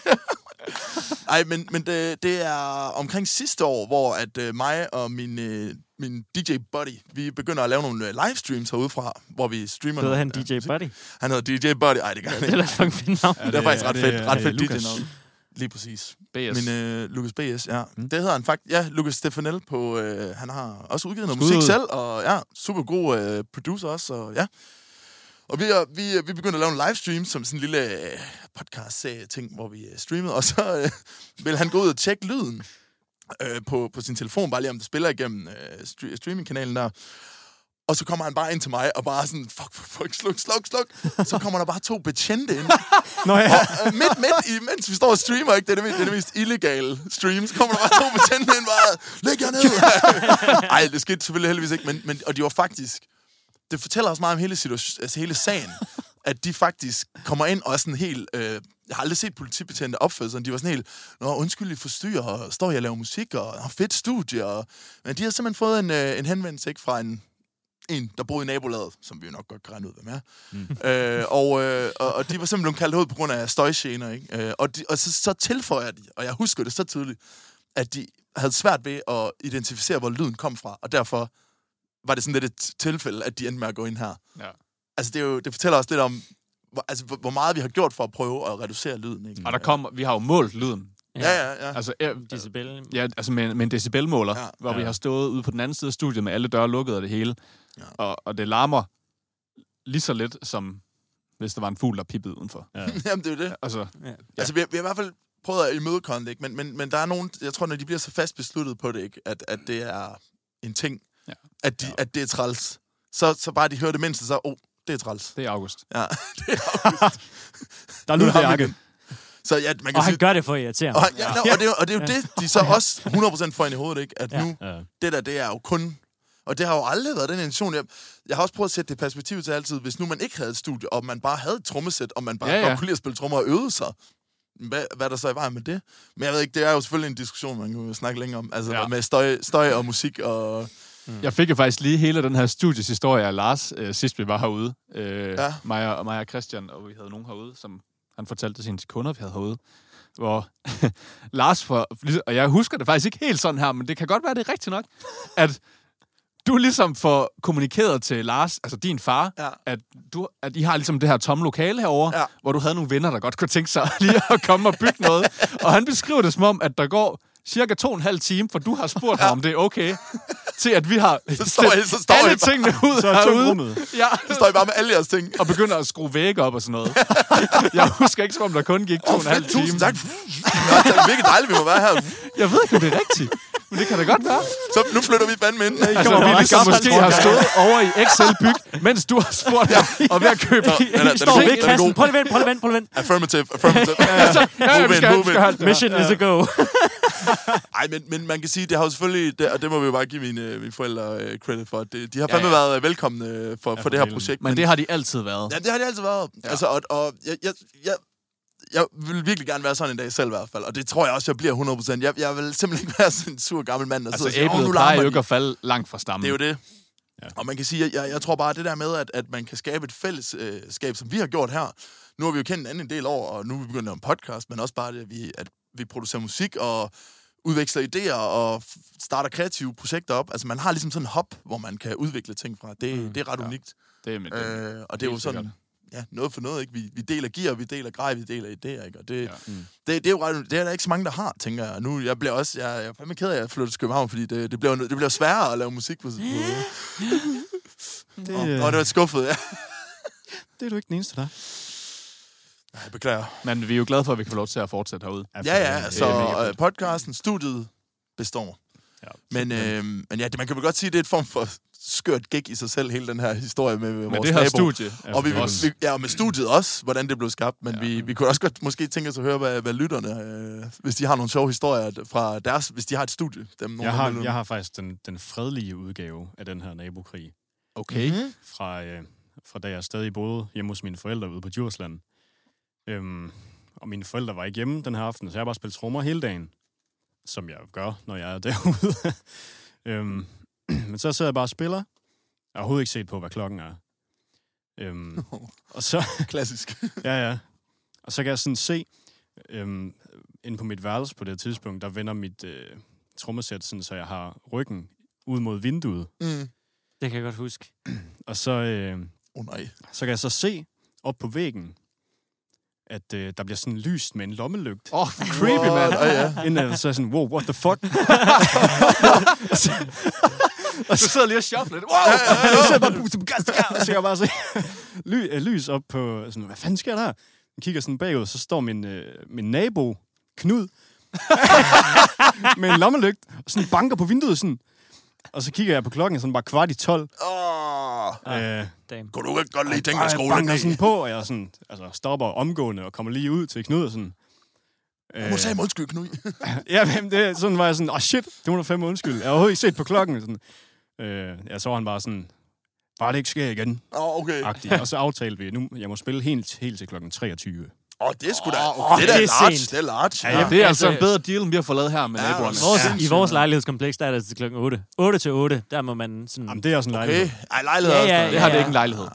Ej, men, men det, det er omkring sidste år, hvor at øh, mig og min, øh, min DJ buddy, vi begynder at lave nogle øh, livestreams herudefra, hvor vi streamer Hedder noget. han DJ Buddy? Han hedder DJ buddy. Ej, det gør han Det ikke. er da fucking fedt navn. Det er faktisk ret det fedt, er- ret øh, fedt Lukas. DJ-navn. Lige præcis. BS. Men øh, Lucas B.S., ja. Mm. Det hedder han faktisk. Ja, Lucas Stefanel på... Øh, han har også udgivet noget Skud musik ud. selv, og ja, super god øh, producer også, og ja. Og vi, er, vi, er- vi begyndte at lave en livestream som sådan en lille øh, podcast-ting, hvor vi øh, streamede, og så øh, ville han gå ud og tjekke lyden øh, på, på sin telefon, bare lige om det spiller igennem øh, stre- streamingkanalen der. Og så kommer han bare ind til mig, og bare sådan, fuck, fuck, fuck, sluk, sluk, sluk. Så kommer der bare to betjente ind. Nå ja, Og øh, midt, midt i, mens vi står og streamer, ikke? Det er det, mest- det, er det mest illegale stream. Så kommer der bare to betjente ind, bare, læg jer ned. Ej, det skete selvfølgelig heldigvis ikke, men, men og de var faktisk... Det fortæller også meget om hele, situation, altså hele sagen, at de faktisk kommer ind og er sådan helt... Øh, jeg har aldrig set politibetjente opføre sig sådan. De var sådan helt, Nå, undskyld, I forstyrrer, og står jeg og laver musik, og har fedt studie. Og, men de har simpelthen fået en, øh, en henvendelse ikke, fra en, en, der boede i nabolaget, som vi jo nok godt kan regne ud, hvem er. Mm. Øh, og, øh, og, og de var simpelthen blevet kaldt ud på grund af støjgener, ikke? Øh, og de, og så, så tilføjer de, og jeg husker det så tydeligt, at de havde svært ved at identificere, hvor lyden kom fra, og derfor var det sådan lidt et tilfælde, at de endte med at gå ind her. Ja. Altså, det, er jo, det fortæller også lidt om, hvor, altså, hvor hvor meget vi har gjort for at prøve at reducere lyden, ikke? Og der kommer, vi har jo målt lyden. Ja, ja, ja. Altså, ja, Decibel. ja, altså med, en- med en decibelmåler, Ja. ja. hvor ja. vi Ja. har stået ude på den anden side af studiet med alle døre lukket og det hele. Ja. Ja. Og, og det larmer lige så lidt, som hvis der var en fugl, der pippede udenfor. Jamen, det er jo det. Altså, Ja. Altså, vi har, vi har i hvert fald prøvet at imødekomme det, ikke? Men, men, men der er nogen, jeg tror, når de bliver så fast besluttet på det, ikke? At, at det er en ting, ja. Ja. at, de, ja. at det er træls, så, så bare de hører det mindste, så, oh, det er træls. det er august. Ja, det er der er lyd Nu har i vi jakke. den. Så ja, man kan Og han sige... gør det for at irritere. Og, ja, ja. og, det, er jo- og det er jo det, de så også 100% får ind i hovedet, ikke? At Ja. nu, Ja. det der, det er jo kun... Og det har jo aldrig været den intention. Jeg, jeg har også prøvet at sætte det i perspektiv til altid. Hvis nu man ikke havde et studie, og man bare havde et trommesæt, og man bare ja, Ja, ja. ja. godt kunne lide at spille trommer og øvede sig, hvad, hvad er der så i vejen med det? Men jeg ved ikke, det er jo selvfølgelig en diskussion, man kan jo snakke længere om. Altså Ja. ja. med støj, støj og musik og... Mm. Jeg fik jo faktisk lige hele den her studieshistorie af Lars, øh, sidst vi var herude. Øh, Ja. ja. mig, og, mig og Christian, og vi havde nogen herude, som han fortalte til sine kunder, vi havde herude. Hvor Lars, for, ligesom, og jeg husker det faktisk ikke helt sådan her, men det kan godt være, det er rigtigt nok, at du ligesom får kommunikeret til Lars, altså din far, Ja. ja. at, du, at I har ligesom det her tomme lokale herovre, Ja. ja. hvor du havde nogle venner, der godt kunne tænke sig lige at komme og bygge noget. Og han beskriver det som om, at der går cirka to og en halv time, for du har spurgt ja. ham, om det er okay, til at vi har Så står I- så står alle I bare- tingene ud Så er tomt herude. rummet. Ja, Så står I bare med alle jeres ting. og begynder at skrue vægge op og sådan noget. Jeg husker ikke, som om der kun gik to Åh, og en halv fedt, tusind tak. time. Nå, det er virkelig dejligt, vi må være her. Jeg ved ikke, om det er rigtigt, men det kan da godt være. Så nu flytter vi fandme ind. Altså, kommer vi bare ligesom gammel måske har stået over i Excel Byg, mens du har spurgt ja. og ved at købe Nå, den er- den er står god. væk. Væk kassen. Prøv lige vent, prøv lige vent, prøv lige vent. Affirmative, affirmative. Altså, Ja, ja, vi skal, vi skal holde det. Mission is a go. Ej, men, men man kan sige, det har jo selvfølgelig, det, og det må vi jo bare give mine, øh, mine forældre øh, credit for, at det, de har Ja, fandme ja, ja. ja. været øh, velkomne øh, for, for, for det her for projekt. Men det har de altid været. Ja, det har det altid været. Ja. Altså, og, og jeg, jeg, jeg, jeg vil virkelig gerne være sådan en dag selv i hvert fald, og det tror jeg også, jeg bliver 100%. Jeg, jeg vil simpelthen ikke være sådan en sur gammel mand, der Altså, sidder og siger, "Åh, nu æblet larmer plejer jo de." ikke at falde langt fra stammen. Det er jo det. Ja. Ja. Og man kan sige, at jeg, jeg tror bare, at det der med, at, at man kan skabe et fællesskab, som vi har gjort her. Nu har vi jo kendt hinanden en del år, og nu er vi begyndt at lave en podcast, men også bare det, at vi, at vi producerer musik og udveksler idéer og f- starter kreative projekter op. Altså man har ligesom sådan en hop, hvor man kan udvikle ting fra. Det, mm, det er ret ja. unikt. det er mit, Øh, og det er jo helt sådan, sikkert. ja, noget for noget, ikke? Vi, vi deler gear, vi deler grej, vi deler idéer, ikke? Og det, ja. Ja. mm. det, det, er jo ret, det er der ikke så mange, der har, tænker jeg. Og Nu, jeg bliver også, jeg, jeg er fandme ked af, at jeg flytter til København, fordi det, det, bliver, det bliver sværere at lave musik på sådan måde. Det, Nå, øh, Nå, det var skuffet, ja. det er du ikke den eneste, der er. Nej, jeg beklager. Men vi er jo glade for, at vi kan få lov til at fortsætte herude. Ja, ja, så mega fedt. øh, podcasten, studiet består. Ja. Men, øh, men ja, det, man kan vel godt sige, at det er et form for skørt gig i sig selv, hele den her historie med, med Men vores det her nabo. studie, Og vi, også. vi, ja, og med studiet også, hvordan det blev skabt, men ja. vi, vi kunne også godt måske tænke os at høre, hvad, hvad lytterne, øh, hvis de har nogle sjove historier fra deres, hvis de har et studie. Dem, nogle Jeg af har, lytterne. jeg har faktisk den, den fredelige udgave af den her nabokrig, Okay. Mhm. fra, øh, fra da jeg stadig boede hjemme hos mine forældre ude på Djursland. Øhm, og mine forældre var ikke hjemme den her aften, så jeg har bare spillet trommer hele dagen, som jeg jo gør, når jeg er derude. øhm, men så sidder jeg bare og spiller. Jeg har overhovedet ikke set på, hvad klokken er. Øhm, og så, Klassisk. Ja, ja. Og så kan jeg sådan se, øhm, inde på mit værelse på det her tidspunkt, der vender mit øh, trommesæt, sådan, så jeg har ryggen ud mod vinduet. Mm. Det kan jeg godt huske. Og så, øh, Oh, nej. så kan jeg så se op på væggen, at øh, der bliver sådan lyst med en lommelygt. Åh, oh, creepy, mand. Oh, ja. Inden så er jeg sådan, wow, what the fuck? Og så sidder lige og shuffler lidt. Wow! så sidder jeg bare, bum, bum, gas, gas, så kan jeg bare se ly, øh, lys op på, sådan, hvad fanden sker der her? Jeg kigger sådan bagud, så står min, øh, min nabo, Knud, med en lommelygte, og sådan banker på vinduet, sådan, Og så kigger jeg på klokken, sådan bare kvart i tolv. Åh, Øh, Damn. kunne du ikke godt lige tænke dig bare skole? banker sådan på, og jeg sådan, altså, stopper omgående og kommer lige ud til Knud og sådan. Må sige mig undskyld, Knud. Ja, men det, sådan var jeg sådan, åh oh, shit, det må du fandme undskylde. Jeg har overhovedet ikke set på klokken. Sådan. Øh, ja, så var han bare sådan, bare det ikke sker igen. Åh, oh, okay. Agtig. Og så aftalte vi, nu jeg må spille helt, helt til klokken 23. Åh, oh, det er sgu da... Åh, det er da det er large, sent. det er large. Ja, Ja, ja. Det er altså Altså- en bedre deal, end vi har fået lavet her med Ja, naboerne. hvor Vores, Sindssygt, I vores lejlighedskompleks, der er det til klokken 8. 8 til 8, der må man sådan... Jamen, det er sådan Okay. okay. Ej, lejlighed Ja, også. ja, der. Det har det Ja. ikke en lejlighed.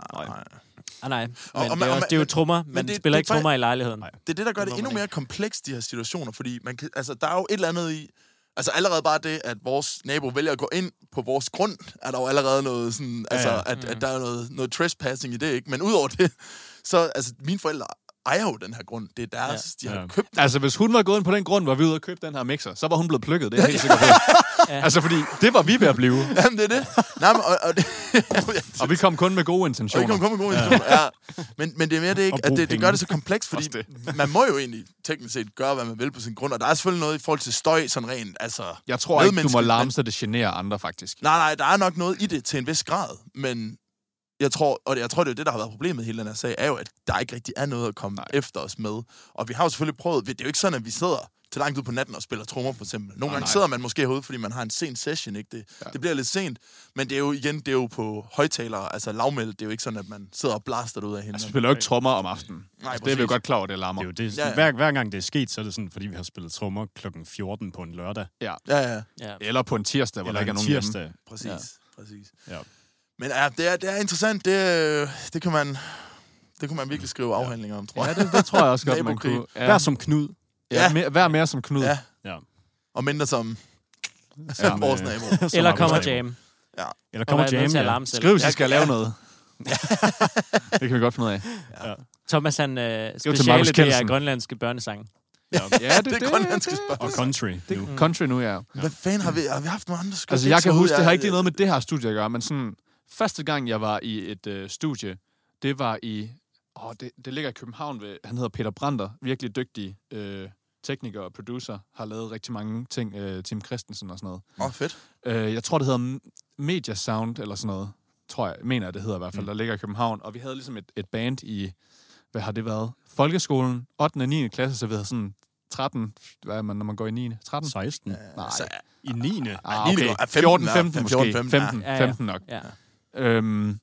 Ah, nej, men og det man- og er, også, man- det er jo trummer. men Man det- det spiller er ikke trummer i lejligheden. Det er det, der gør det, må endnu man mere komplekst, de her situationer, fordi man kan, altså, der er jo et eller andet i... Altså allerede bare det, at vores nabo vælger at gå ind på vores grund, er der jo allerede noget sådan, altså, ja. At, at der er noget, noget trespassing i det, ikke? Men udover det, så, altså, mine forældre ejer jo den her grund. Det er deres, ja. de har Ja. købt. Altså, hvis hun var gået ind på den grund, hvor vi ude og købe den her mixer, så var hun blevet plukket, det er jeg helt sikker på. Altså, fordi det var vi ved at blive, Jamen, det er det. Nej, men, og, og det, og vi kom kun med gode Og ikke intentioner. om komme gode ja. ja. Men, men det er mere det ikke, Og at bruge det, det penge. gør det så komplekst, fordi Også man må jo egentlig teknisk set gøre, hvad man vil på sin grund, og der er selvfølgelig noget i forhold til støj, sådan rent, altså... Jeg tror ikke, du må medmenneskeligt, larme, men- så det generer andre, faktisk. Nej, nej, der er nok noget i det til en vis grad, men jeg tror, og jeg tror, det er jo det, der har været problemet i hele den her sag, er jo, at der ikke rigtig er noget at komme nej. efter os med. Og vi har jo selvfølgelig prøvet, det er jo ikke sådan, at vi sidder til langt ud på natten og spiller trommer for eksempel. Nogle gange nej. sidder man måske herude, fordi man har en sen session, ikke? Det, ja. det bliver lidt sent, men det er jo igen, det er jo på højtalere, altså lavmæld, det er jo ikke sådan, at man sidder og blaster det ud af hinanden. Altså, vi spiller jo ikke trommer om aftenen. Nej, Altså, det er vi jo præcis. godt klar over, det larmer. Det er jo det, Ja, ja, ja. ja. Hver, hver gang det er sket, så er det sådan, fordi vi har spillet trommer klokken 14 på en lørdag. Ja, ja, Ja. Eller på en tirsdag, hvor Eller der ikke er en nogen hjemme. tirsdag. præcis. Ja. præcis. Ja. Men ja, det er, det er interessant. Det, øh, det, kan man, det kan man virkelig skrive afhandlinger om, tror Ja, jeg. det, det tror jeg også godt, man Nabokrig. kunne. Vær Ja, som Knud. ja, mere, vær mere som Knud. Ja. Ja. Og mindre som, som Ja. vores øh, nabo. Som Eller arbejdsnabo. kommer jam. Eller Og kommer være nødt jam, til at ja. larme selv. Skriv, hvis I Jeg- skal lave noget. Det kan vi godt finde ud af. Thomas, han øh, til speciale, Marcus det er Kelsen. grønlandske børnesange. Ja, Det er grønlandske spørgsmål. Og country. nu. det. Country nu, ja. Hvad fanden har vi, har vi haft nogle andre skud? Altså, jeg kan huske, det har ikke lige noget... noget med det her studie at gøre, men sådan, første gang, jeg var i et øh, studie, det var i, åh, det, det ligger i København ved, han hedder Peter Brander, virkelig dygtig øh, tekniker og producer, har lavet rigtig mange ting, øh, Tim Christensen og sådan noget. Åh, oh, fedt. Øh, jeg tror, det hedder M- Media Sound eller sådan noget, tror jeg, mener jeg, det hedder i hvert fald, mm. der ligger i København, og vi havde ligesom et, et band i, hvad har det været, folkeskolen, 8. og 9. klasse, så vi havde sådan 13, hvad er man, når man går i 9. 13? 16. Mm. Nej. Så, I 9. Ah, lige okay. lidt. Ah, 14, 15, 15, måske. 14, 15, 15, 15, ja. Ja, ja. 15 nok. Ja. Øhm,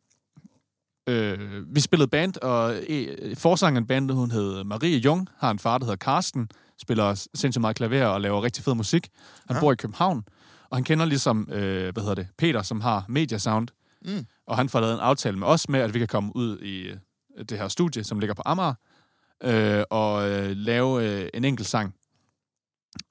øh, vi spillede band, og øh, forsangeren i bandet, hun hed Marie Jung, har en far, der hedder Karsten, spiller sindssygt meget klaver og laver rigtig fed musik. Han Ja. ja. bor i København, og han kender ligesom, øh, hvad hedder det, Peter, som har Media Sound, Mm. og han får lavet en aftale med os med, at vi kan komme ud i øh, det her studie, som ligger på Amager, øh, og øh, lave øh, en enkelt sang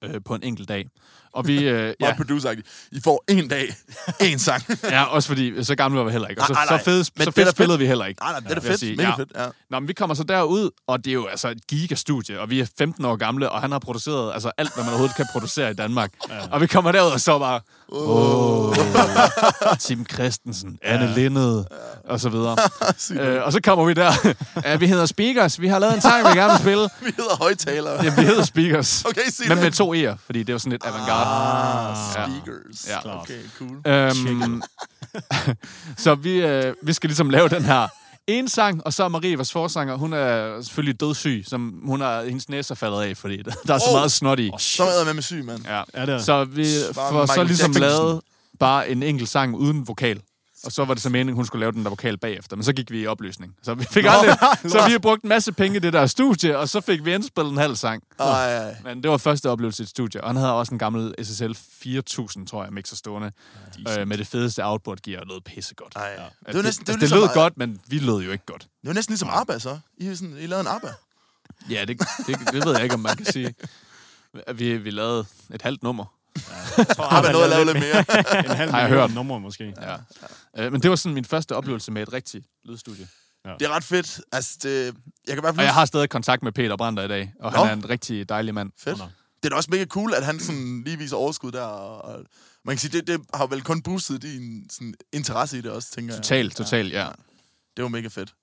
øh, på en enkelt dag. Og vi, øh, Meget produceragtigt. I får en dag, en sang. Ja, også fordi så gamle var vi heller ikke. Og så, Nej, nej, nej. nej. så fedt, Men så det er da fedt spillede vi heller ikke. Nej, nej, det er da vil jeg fedt. sige. Mega Ja. fedt, ja. Nå, men vi kommer så derud, og det er jo altså et gigastudie, og vi er 15 år gamle, og han har produceret altså alt, hvad man overhovedet kan producere i Danmark. Ja. Og vi kommer derud, og så bare, åh, Tim Christensen, Anne ja. Lindet, og så videre. øh, og så kommer vi der, ja, vi hedder Speakers, vi har lavet en sang, vi gerne vil spille. Vi hedder højtalere. Ja, vi hedder Speakers, Okay, sig men det. med to E'er, fordi det er jo sådan lidt avantgarde. Ah, Ja. speakers. Ja. Okay, cool. Øhm, så vi, øh, vi skal ligesom lave den her ene sang, og så er Marie, vores forsanger, hun er selvfølgelig dødssyg, som hun har, hendes næse er faldet af, fordi der der er så Oh. meget snot i. Så er jeg med med syg, mand. Ja. Er det? Så vi Bare får så Michael ligesom Jackson. lavet bare en enkelt sang uden vokal. Og så var det så meningen, hun skulle lave den der vokal bagefter. Men så gik vi i opløsning. Så vi fik aldrig, så vi har brugt en masse penge i det der studie, og så fik vi indspillet en halv sang. Ej, ej. Men det var første oplevelse i et studie, og han havde også en gammel SSL 4000, tror jeg, mixer stående, øh, med det fedeste output gear, og lød pissegodt. Ej. Det, det, næsten- næsten, det, altså, ligesom- det lød godt, men vi lød jo ikke godt. Det var næsten ligesom ABBA, så. I, er sådan, I lavede en ABBA. Ja, det, det, det ved jeg ikke, om man kan sige. Vi, vi lavede et halvt nummer. ABBA nåede at lave lidt mere. En halv Har jeg million hørt. numre måske. Ja. Øh, men det var sådan min første oplevelse med et rigtigt lydstudie. Det er ret fedt. Altså, det, jeg kan i hvert Og fald jeg har stadig kontakt med Peter Brander i dag, og han Nå. er en rigtig dejlig mand. Fedt. Nå. Det er da også mega cool, at han sådan lige viser overskud der. Og, og man kan sige, det, det har vel kun boostet din sådan, interesse i det også, tænker jeg. Totalt, totalt, ja. Det var mega fedt.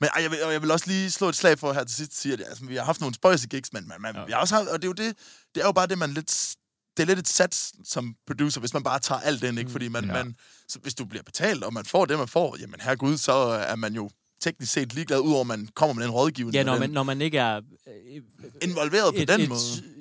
Men ej, jeg, vil, og jeg vil også lige slå et slag for her til sidst, sige, at altså, vi har haft nogle spøjse gigs, men man, man, ja. vi har også haft, og det er jo det, det er jo bare det, man lidt s- det er lidt et sats som producer, hvis man bare tager alt den, Mm. ikke? Fordi man, ja. man, så hvis du bliver betalt, og man får det, man får, jamen herregud, så er man jo teknisk set ligeglad, udover at man kommer med den rådgivning. Ja, og når den man, når man ikke er øh, involveret på et, den et, måde.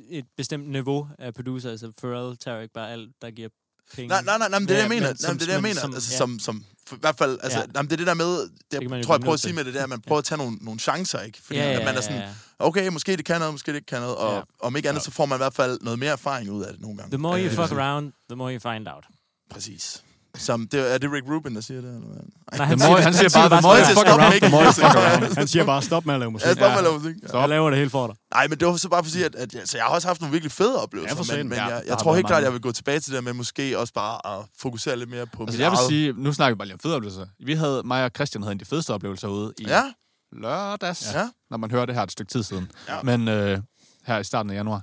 et bestemt niveau af producer, altså Pharrell tager ikke bare alt, der giver penge. Nej, nej, nej, nej men det er det, jeg mener. Ja, men Nej, men som- det er det, jeg men mener. som- Altså, ja. som, som, for, I hvert fald, altså, Ja. nej, men det er det der med, det, kan man jo jeg tror, blive jeg prøver nødt at sige til. med det der, at man prøver at tage nogle, nogle chancer, ikke? Fordi Ja, at ja, man er ja, sådan, ja. okay, måske det kan noget, måske det ikke kan noget, og Ja. om ikke andet, så får man i hvert fald noget mere erfaring ud af det nogle gange. The more you Øh, fuck around, the more you find out. Præcis. Som, det, er det Rick Rubin, der siger det? Eller hvad? Nej, The more, han siger bare, the more Møje you til at fuck stoppe around, med the ikke more you at fuck sige around. noget. Han siger bare, stop med at lave musik. Ja, stop med at lave musik. Ja. Jeg laver det hele for dig. Nej, men det var så bare for at sige, at, at jeg, så jeg har også haft nogle virkelig fede Ja, for oplevelser, men, satan. men Ja, jeg, der jeg har tror været helt klart, mange. at jeg vil gå tilbage til det med måske også bare at fokusere lidt mere på Altså, mit jeg vil eget- sige, nu snakker vi bare lige om fede oplevelser. Vi havde, mig og Christian havde en af de fedeste oplevelser ude i Ja, lørdags, Ja. ja. når man hører det her et stykke tid siden. Ja. Ja. Men øh, her i starten af januar.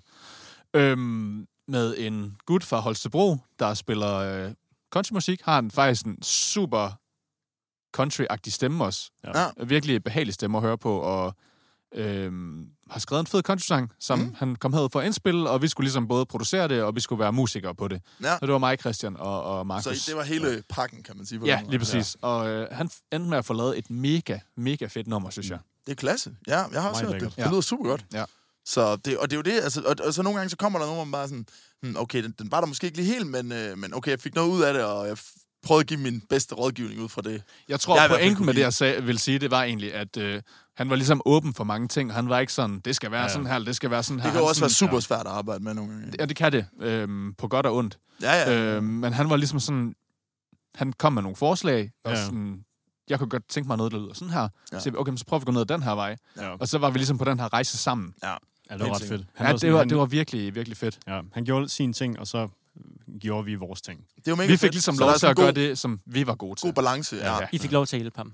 Øhm, med en gut fra Holstebro, der spiller øh, countrymusik, har han faktisk en super country-agtig stemme også. Ja. Virkelig behagelig stemme at høre på, og øhm, har skrevet en fed country-sang, som mm. han kom herud for at indspille, og vi skulle ligesom både producere det, og vi skulle være musikere på det. Ja. Så det var mig, Christian og, og Markus. så det var hele pakken, kan man sige. på Ja, den måde. lige præcis. Ja. Og øh, han f- endte med at få lavet et mega, mega fedt nummer, synes jeg. Det er klasse. Ja, jeg har Meget også hørt det. lækkert. Det Ja. lyder super godt. Ja. Så det, og det er jo det, altså, og, og, så nogle gange, så kommer der nogen, hvor man bare sådan, hmm, okay, den, den var der måske ikke lige helt, men, øh, men okay, jeg fik noget ud af det, og jeg f- prøvede at give min bedste rådgivning ud fra det. Jeg tror, Jeg er i jeg hvert fald pointen kunne med det, lide- jeg sag, vil sige, det var egentlig, at øh, han var ligesom åben for mange ting. Han var ikke sådan, det skal være ja. sådan her, eller det skal være sådan her. Det kan jo Han også sådan, være super svært at arbejde med nogle gange. Ja, det kan det. Øhm, på godt og ondt. Ja, ja. Ja. Øhm, men han var ligesom sådan... Han kom med nogle forslag, og Ja. sådan... Jeg kunne godt tænke mig noget, der lyder sådan her. Ja. Ja. Så, jeg, okay, men så prøver vi at gå ned ad den her vej. Ja. Og så var vi ligesom på den her rejse sammen. Ja, det var Helt ret fedt. Ja, det, var, det var virkelig, virkelig fedt. Ja, han gjorde sin ting, og så gjorde vi vores ting. det er jo mega Vi fik fedt. ligesom Så lov der er til at sådan gøre god, det, som vi var gode til. God balance, ja. Ja. I fik lov til at hjælpe ham.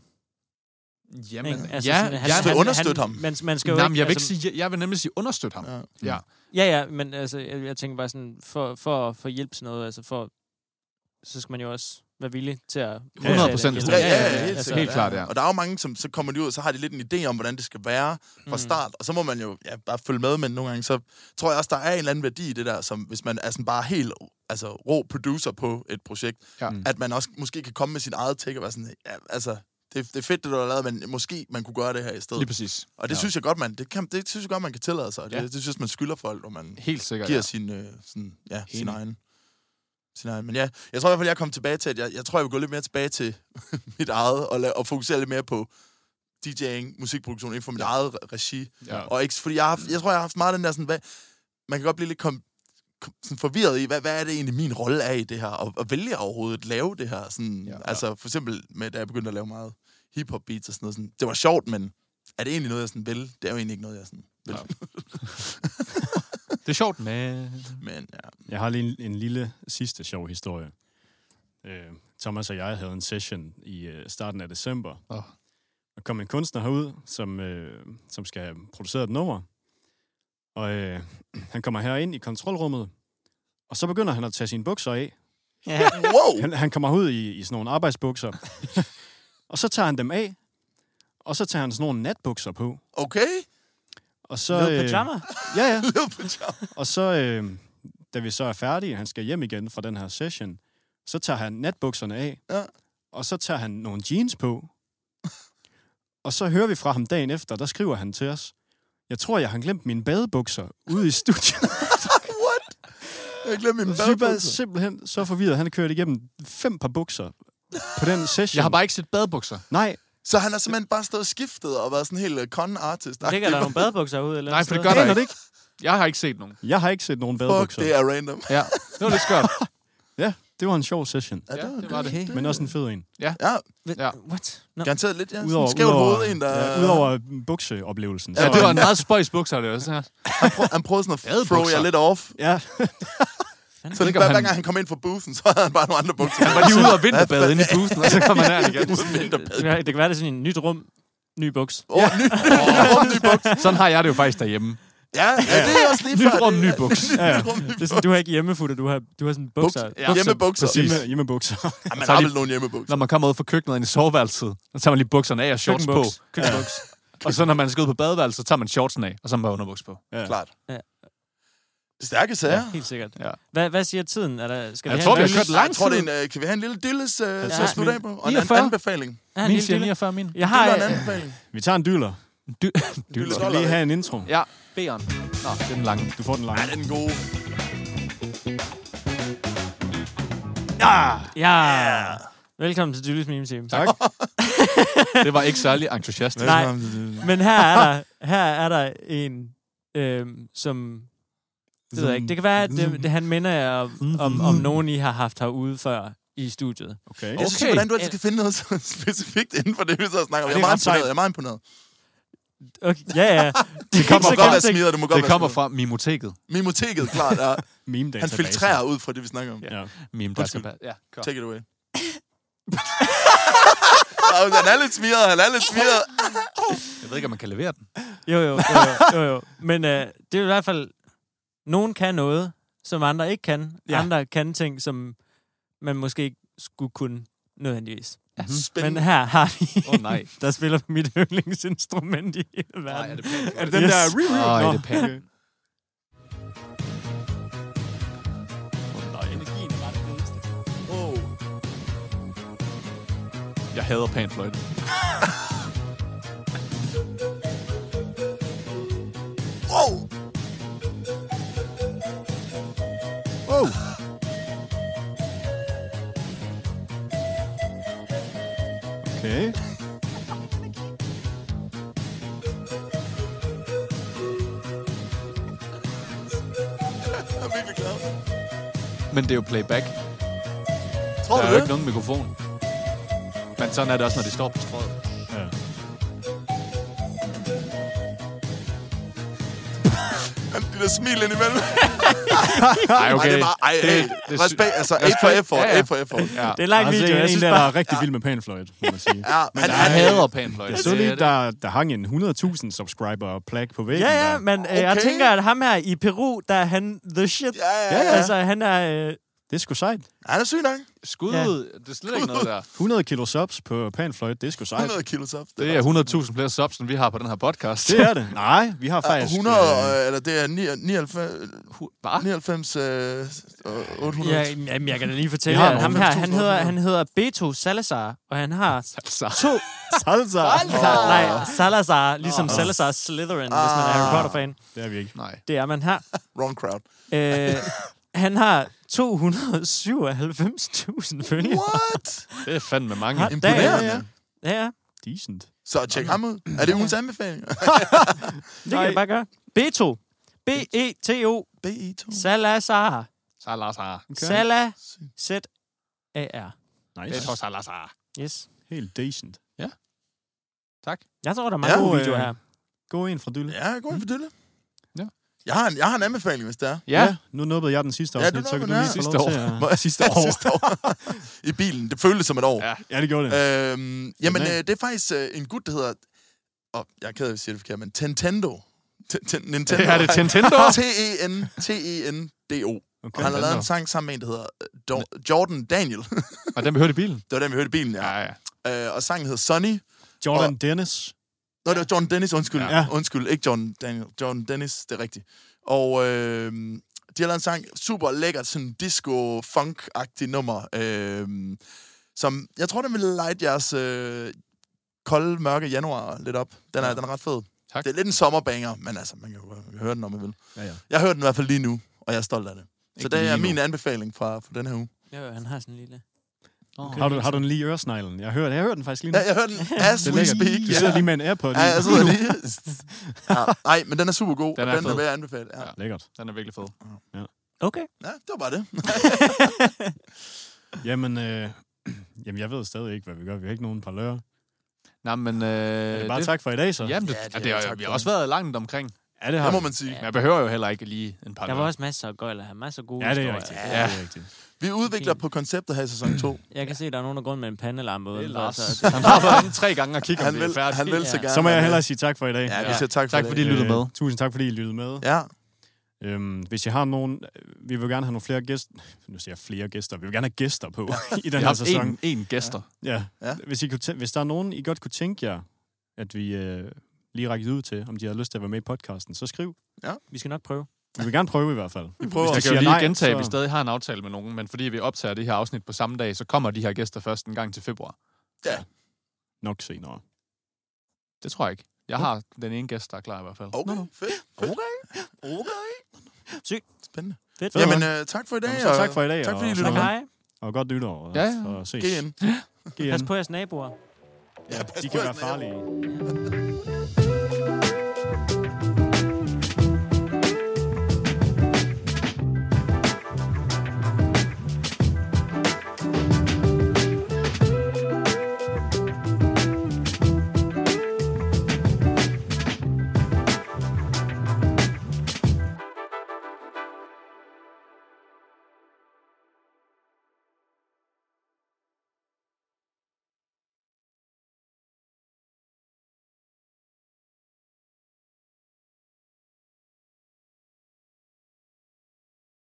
Jamen, ikke? altså, ja, sådan, ja, han- Så han- understøtte han- ham. Man, man skal jo Jamen, jeg, vil ikke altså- sige, jeg, jeg vil nemlig sige understøtte ham. Ja. ja. ja. Ja, ja, men altså, jeg, jeg tænker bare sådan, for, for, for at hjælpe sådan noget, altså for, så skal man jo også være villig til at... 100% Ja, ja, ja, Ja, helt, altså, sikkert, helt klart, ja. Og der er jo mange, som så kommer de ud, og så har de lidt en idé om, hvordan det skal være fra Mm. start. Og så må man jo ja, bare følge med, men nogle gange, så tror jeg også, der er en eller anden værdi i det der, som hvis man er sådan bare helt altså, rå producer på et projekt, Ja. at man også måske kan komme med sin eget take og være sådan, ja, altså, det, det er fedt, det du har lavet, men måske man kunne gøre det her i Lige stedet. præcis. Og det ja. synes jeg godt, man, det, kan, det synes jeg godt, man kan tillade sig. og Det, ja. Ja. det synes jeg, man skylder folk, når man Helt sikkert, giver ja. ja. sin, øh, sådan, ja, sin Enig. egen. Sin egen. Men ja, jeg tror i hvert fald, jeg kom tilbage til, at jeg, jeg tror, jeg vil gå lidt mere tilbage til mit eget, og, la- og fokusere lidt mere på DJ'ing, musikproduktion inden for mit ja. eget regi. Ja. Og ikke, fordi jeg, har haft, jeg tror, jeg har haft meget den der sådan, hvad, man kan godt blive lidt kom, kom, sådan forvirret i, hvad, hvad er det egentlig, min rolle er i det her, og, og vælger jeg overhovedet at lave det her? Sådan, ja, Ja. altså for eksempel, med, da jeg begyndte at lave meget hip-hop beats og sådan noget, sådan, det var sjovt, men er det egentlig noget, jeg sådan vil? Det er jo egentlig ikke noget, jeg sådan vil. Ja. Det er sjovt, men... Men ja, Jeg har lige en, en lille sidste sjov historie. Øh, Thomas og jeg havde en session i øh, starten af december. Åh. Der kom en kunstner herud, som, øh, som skal have produceret et nummer. Og øh, han kommer herind i kontrolrummet, og så begynder han at tage sine bukser af. Ja, wow! Han, han kommer ud i, i sådan nogle arbejdsbukser. og så tager han dem af, og så tager han sådan nogle natbukser på. Okay. Og så, øh, Little pajama. ja, ja. Lille pyjama. Og så, øh, da vi så er færdige, han skal hjem igen fra den her session, så tager han natbukserne af, Ja. og så tager han nogle jeans på. Og så hører vi fra ham dagen efter, der skriver han til os, jeg tror, jeg har glemt mine badebukser ude i studiet. What? Jeg glemte min Så vi var badebukser. simpelthen så forvirret. Han kørte igennem fem par bukser på den session. Jeg har bare ikke set badebukser. Nej, Så han har simpelthen bare stået og skiftet og været sådan helt øh, con artist Ligger der nogle badebukser ud? Eller Nej, et for det sted? gør der aner det ikke. ikke. Jeg har ikke set nogen. Jeg har ikke set nogen Fuck, badebukser. det er random. Ja, det var lidt skørt. Ja, det var en sjov session. Ja, det var det. Men også en fed en. Ja, Ja. What? No. garanteret lidt, ja. Udover, Udover, skævt udover, hoved, en der... ja, udover bukseoplevelsen. Ja, så- det var en meget spøjs bukser, det også. Ja. Han, prøv, han prøvede sådan at Badebukser. throw jer lidt off. Ja, Så ikke, hver, om hver han- gang han kom ind fra boothen, så havde han bare nogle andre bukser. Han var lige ude og vinterbade inde i bussen, og så kom han her igen. Det, kan- det kan være, det er sådan en nyt rum, ny buks. Åh, ny, åh, ny buks. Sådan har jeg det jo faktisk derhjemme. Ja, ja, det er også lige Nyt før. rum, det- ny buks. Nyt rum, ny Det er buks. sådan, du har ikke hjemmefutter, du har, du har sådan bukser. Buks- Hjemmebukser. Præcis. hjemme, hjemmebukser. Ja, man Så er har de- vel nogle hjemmebukser. Når man kommer ud fra køkkenet ind i soveværelset, så tager man lige bukserne af og shorts på. Køkkenbuks. Køkkenbuks. Og så når man skal ud på badeværelset, så tager man shortsen af, og så har man bare underbuks på. Ja. Klart. Ja. Stærke sager. Helt sikkert. Ja. Hvad, hvad siger tiden? Er der, skal Jeg vi tror, have vi har kørt Jeg lang tror, tid. det er en, øh, kan vi have en lille dilles øh, til min- at slutte af på? Og en 49. an- anbefaling. Ja, Min siger 49, min. Jeg Diller har... og en anbefaling. Vi tager en dyler. Dy- Vi Dyller. skal lige have en intro. Ja, B'eren. Nå, det er den lange. Du får den lange. Ja, den er gode. Ja. Velkommen til Dylis Meme Team. Tak. det var ikke særlig entusiastisk. Nej. Men her er der, her er der en, øhm, som... Det ved jeg ikke. Det kan være, at det, det, han minder jer om, om, om nogen, I har haft herude før i studiet. Okay. Jeg synes, Okay. ikke, hvordan du altid kan finde noget så specifikt inden for det, vi så snakker om. Ja, Jeg det er er ret meget imponeret. sejt. Jeg er meget imponeret. Okay, ja, ja. Det Du må godt være smider, du må godt Det være kommer smider. fra Mimoteket. Mimoteket, klart. Ja. Meme Han filtrerer ud fra det, vi snakker om. Ja. Meme, der skal Ja, kør. Take it away. Claus, han er lidt smiret, han er lidt smiret. Jeg ved ikke, om man kan levere den. Jo, jo, jo, jo, jo. jo. Men øh, det er i hvert fald... Nogen kan noget, som andre ikke kan. Ja. Ja. Andre kan ting, som man måske ikke skulle kunne nødvendigvis. Men Spændende. her har vi Mhm. Åh, nej. en, der spiller mit yndlingsinstrument i hele Nej, er verden. det pænt? Er det den Yes. der... re- re- Ej, Nå, det er pænt. okay. Åh. Oh. Jeg hader panfløjte. Wow. Wow. Okay. Jeg er virkelig glad. Men det er jo playback. Tror Der du er jo det? ikke nogen mikrofon. Men sådan er det også, når de står på strøget. Ja. Det der smil ind imellem. Nej, Ej, okay. det er bare... Ej, ey. Respekt. Altså, A for effort. A for effort. Ja. Det er en lang Altså, video, jeg en, synes der bare... er rigtig vild med panfløjt, må man sige. Ja, Men han der er... Jeg hader panfløjte. Jeg så lige, der, der hang en 100.000 subscriber plak på væggen. Ja, ja, der. men øh, jeg Okay. tænker, at ham her i Peru, der er han the shit. Ja, ja, ja. Altså, han er... Øh, Det er sgu sejt. Han er syg nok. Skud Ja. ud. Det er slet ikke noget der. 100 kilo subs på panfløjt, det er sgu sejt. 100 kilo top. Det er 100.000 flere subs, end vi har på den her podcast. Det er det. Nej, vi har faktisk... 100, øh, øh, eller det er 99, Bare. 99 øh, og 800. ja, jamen, jeg kan da lige fortælle Vi jer, har at ham her, han 90.000 hedder, abonnenter. han hedder Beto Salazar, og han har Altså. to... Salsa. Salazar, nej, Salazar, ligesom Salazar Slytherin, hvis man Ah. er Harry Potter-fan. Det er vi ikke. Nej. Det er man her. Wrong crowd. Øh, han har 297.000 følgere. What? Det er fandme mange. Hot damn. Imponerende. Ja, ja, ja. Decent. Så tjek ham ud. Er det ugens anbefaling? Det kan du bare gøre. Beto. B-E-T-O. BI2. Salazar. Salazar. Okay. Sala. Z-A-R. Nice. Beto Salazar. Yes. Helt decent. Jeg tror, der er mange Ja, ja, gode øh, videoer her. Gå en fra Dylle. Ja, gå ind for dylle. Ja. Jeg har, en, jeg har en anbefaling, hvis det er. Ja. Nu nubbede jeg den sidste Ja, du afsnit, så kan du nubbede lige den, få ja. lov Sidste til at... Må jeg sidste år? sidste år. I bilen. Det føltes som et år. Ja. Ja. Ja, det gjorde det. Øhm, jamen, Sådan øh, er. det er faktisk øh, en gut, der hedder... Og jeg er ked af, at jeg siger det forkert, men Nintendo. Ten- ten- Nintendo. Er det Nintendo? E T-E-N-T-E-n-D-O. Og Okay. han har lavet en Nintendo. sang sammen med en, der hedder øh, Dor- Jordan Daniel. Og den vi hørte i bilen. det var den, vi hørte i bilen, ja. ja. Øh, og sangen hedder Sunny. Jordan Dennis. Nå, det var John Dennis, undskyld. Ja. Ja. Undskyld, ikke John Daniel. John Dennis, det er rigtigt. Og øh, de har lavet en sang, super lækkert, sådan disco-funk-agtig nummer, øh, som jeg tror, den vil light jeres øh, kolde, mørke januar lidt op. Den er, ja. den er ret fed. Tak. Det er lidt en sommerbanger, men altså, man kan jo man kan høre den, om man vil. Ja, ja. Jeg hører den i hvert fald lige nu, og jeg er stolt af det. Så Ikke det er lige nu. min anbefaling fra, fra den her uge. Jo, jo, han har sådan en lille... Har du, har du den lige i øresneglen? Jeg hører, jeg hører den faktisk lige nu. Ja, jeg hører den as Mm. Det er we lækkert. speak. Du sidder lige med en AirPod. ja, jeg sidder lige. Ja. Nej, men den er super god, den Den er er og den fed. vil jeg anbefale. Ja. Ja. Lækkert. Den er virkelig fed. Okay. ja, det var bare det. Jamen, øh, jamen, jeg ved stadig ikke, hvad vi gør. Vi har ikke nogen par lører. Nej, men... Øh, Er det bare det... tak for i dag, så? Jamen, det, Ja, ja, det det, er- det, er, tak vi har for også været langt omkring. Ja, det har Det må vi. man sige. Men jeg behøver jo heller ikke lige en par Der var dage. også masser af gøjler her. Masser af gode Ja, det er historier. rigtigt. Ja. Ja. Det er rigtigt. Vi udvikler på konceptet her i sæson 2. Jeg kan se, at der er nogen, der går rundt med en pandelampe Det er udenfor. Lars. så- Han har været inde tre gange og kigget, Han om vi er vil, færdige. han vil så Ja. gerne. Så må jeg være hellere med. sige tak for i dag. Øh, Ja, vi Ja. siger tak for Tak fordi I lyttede med. Tusind tak, fordi I lyttede med. Ja, Øhm, hvis jeg har nogen... øh, Vi vil gerne have nogle flere gæster... Nu siger jeg flere gæster. Vi vil gerne have gæster på i den Jeg her har haft sæson. en, en gæster. Ja. Ja. ja. Hvis, I kunne tæ- hvis der er nogen, I godt kunne tænke jer, at vi øh, lige rækker ud til, om de har lyst til at være med i podcasten, så skriv. Vi skal nok prøve. Vi vil gerne prøve i hvert fald. Vi prøver. Jeg Hvis de kan jo siger lige nej, gentage, at vi så- stadig har en aftale med nogen, men fordi vi optager det her afsnit på samme dag, så kommer de her gæster først en gang til februar. Nok senere. Det tror jeg ikke. Jeg har den ene gæst, der er klar i hvert fald. Okay, fedt. Okay. Okay. Sygt. Spændende. Fedt. Fedt. Jamen, øh, tak for i dag. Jamen, så tak for i dag, og Tak fordi I og lyttede Tak, med. hej. Og godt nytår. Og, Ja, ja. og ses. GN. GN. Pas på jeres naboer. Ja, pas de på kan være jeres naboer. farlige.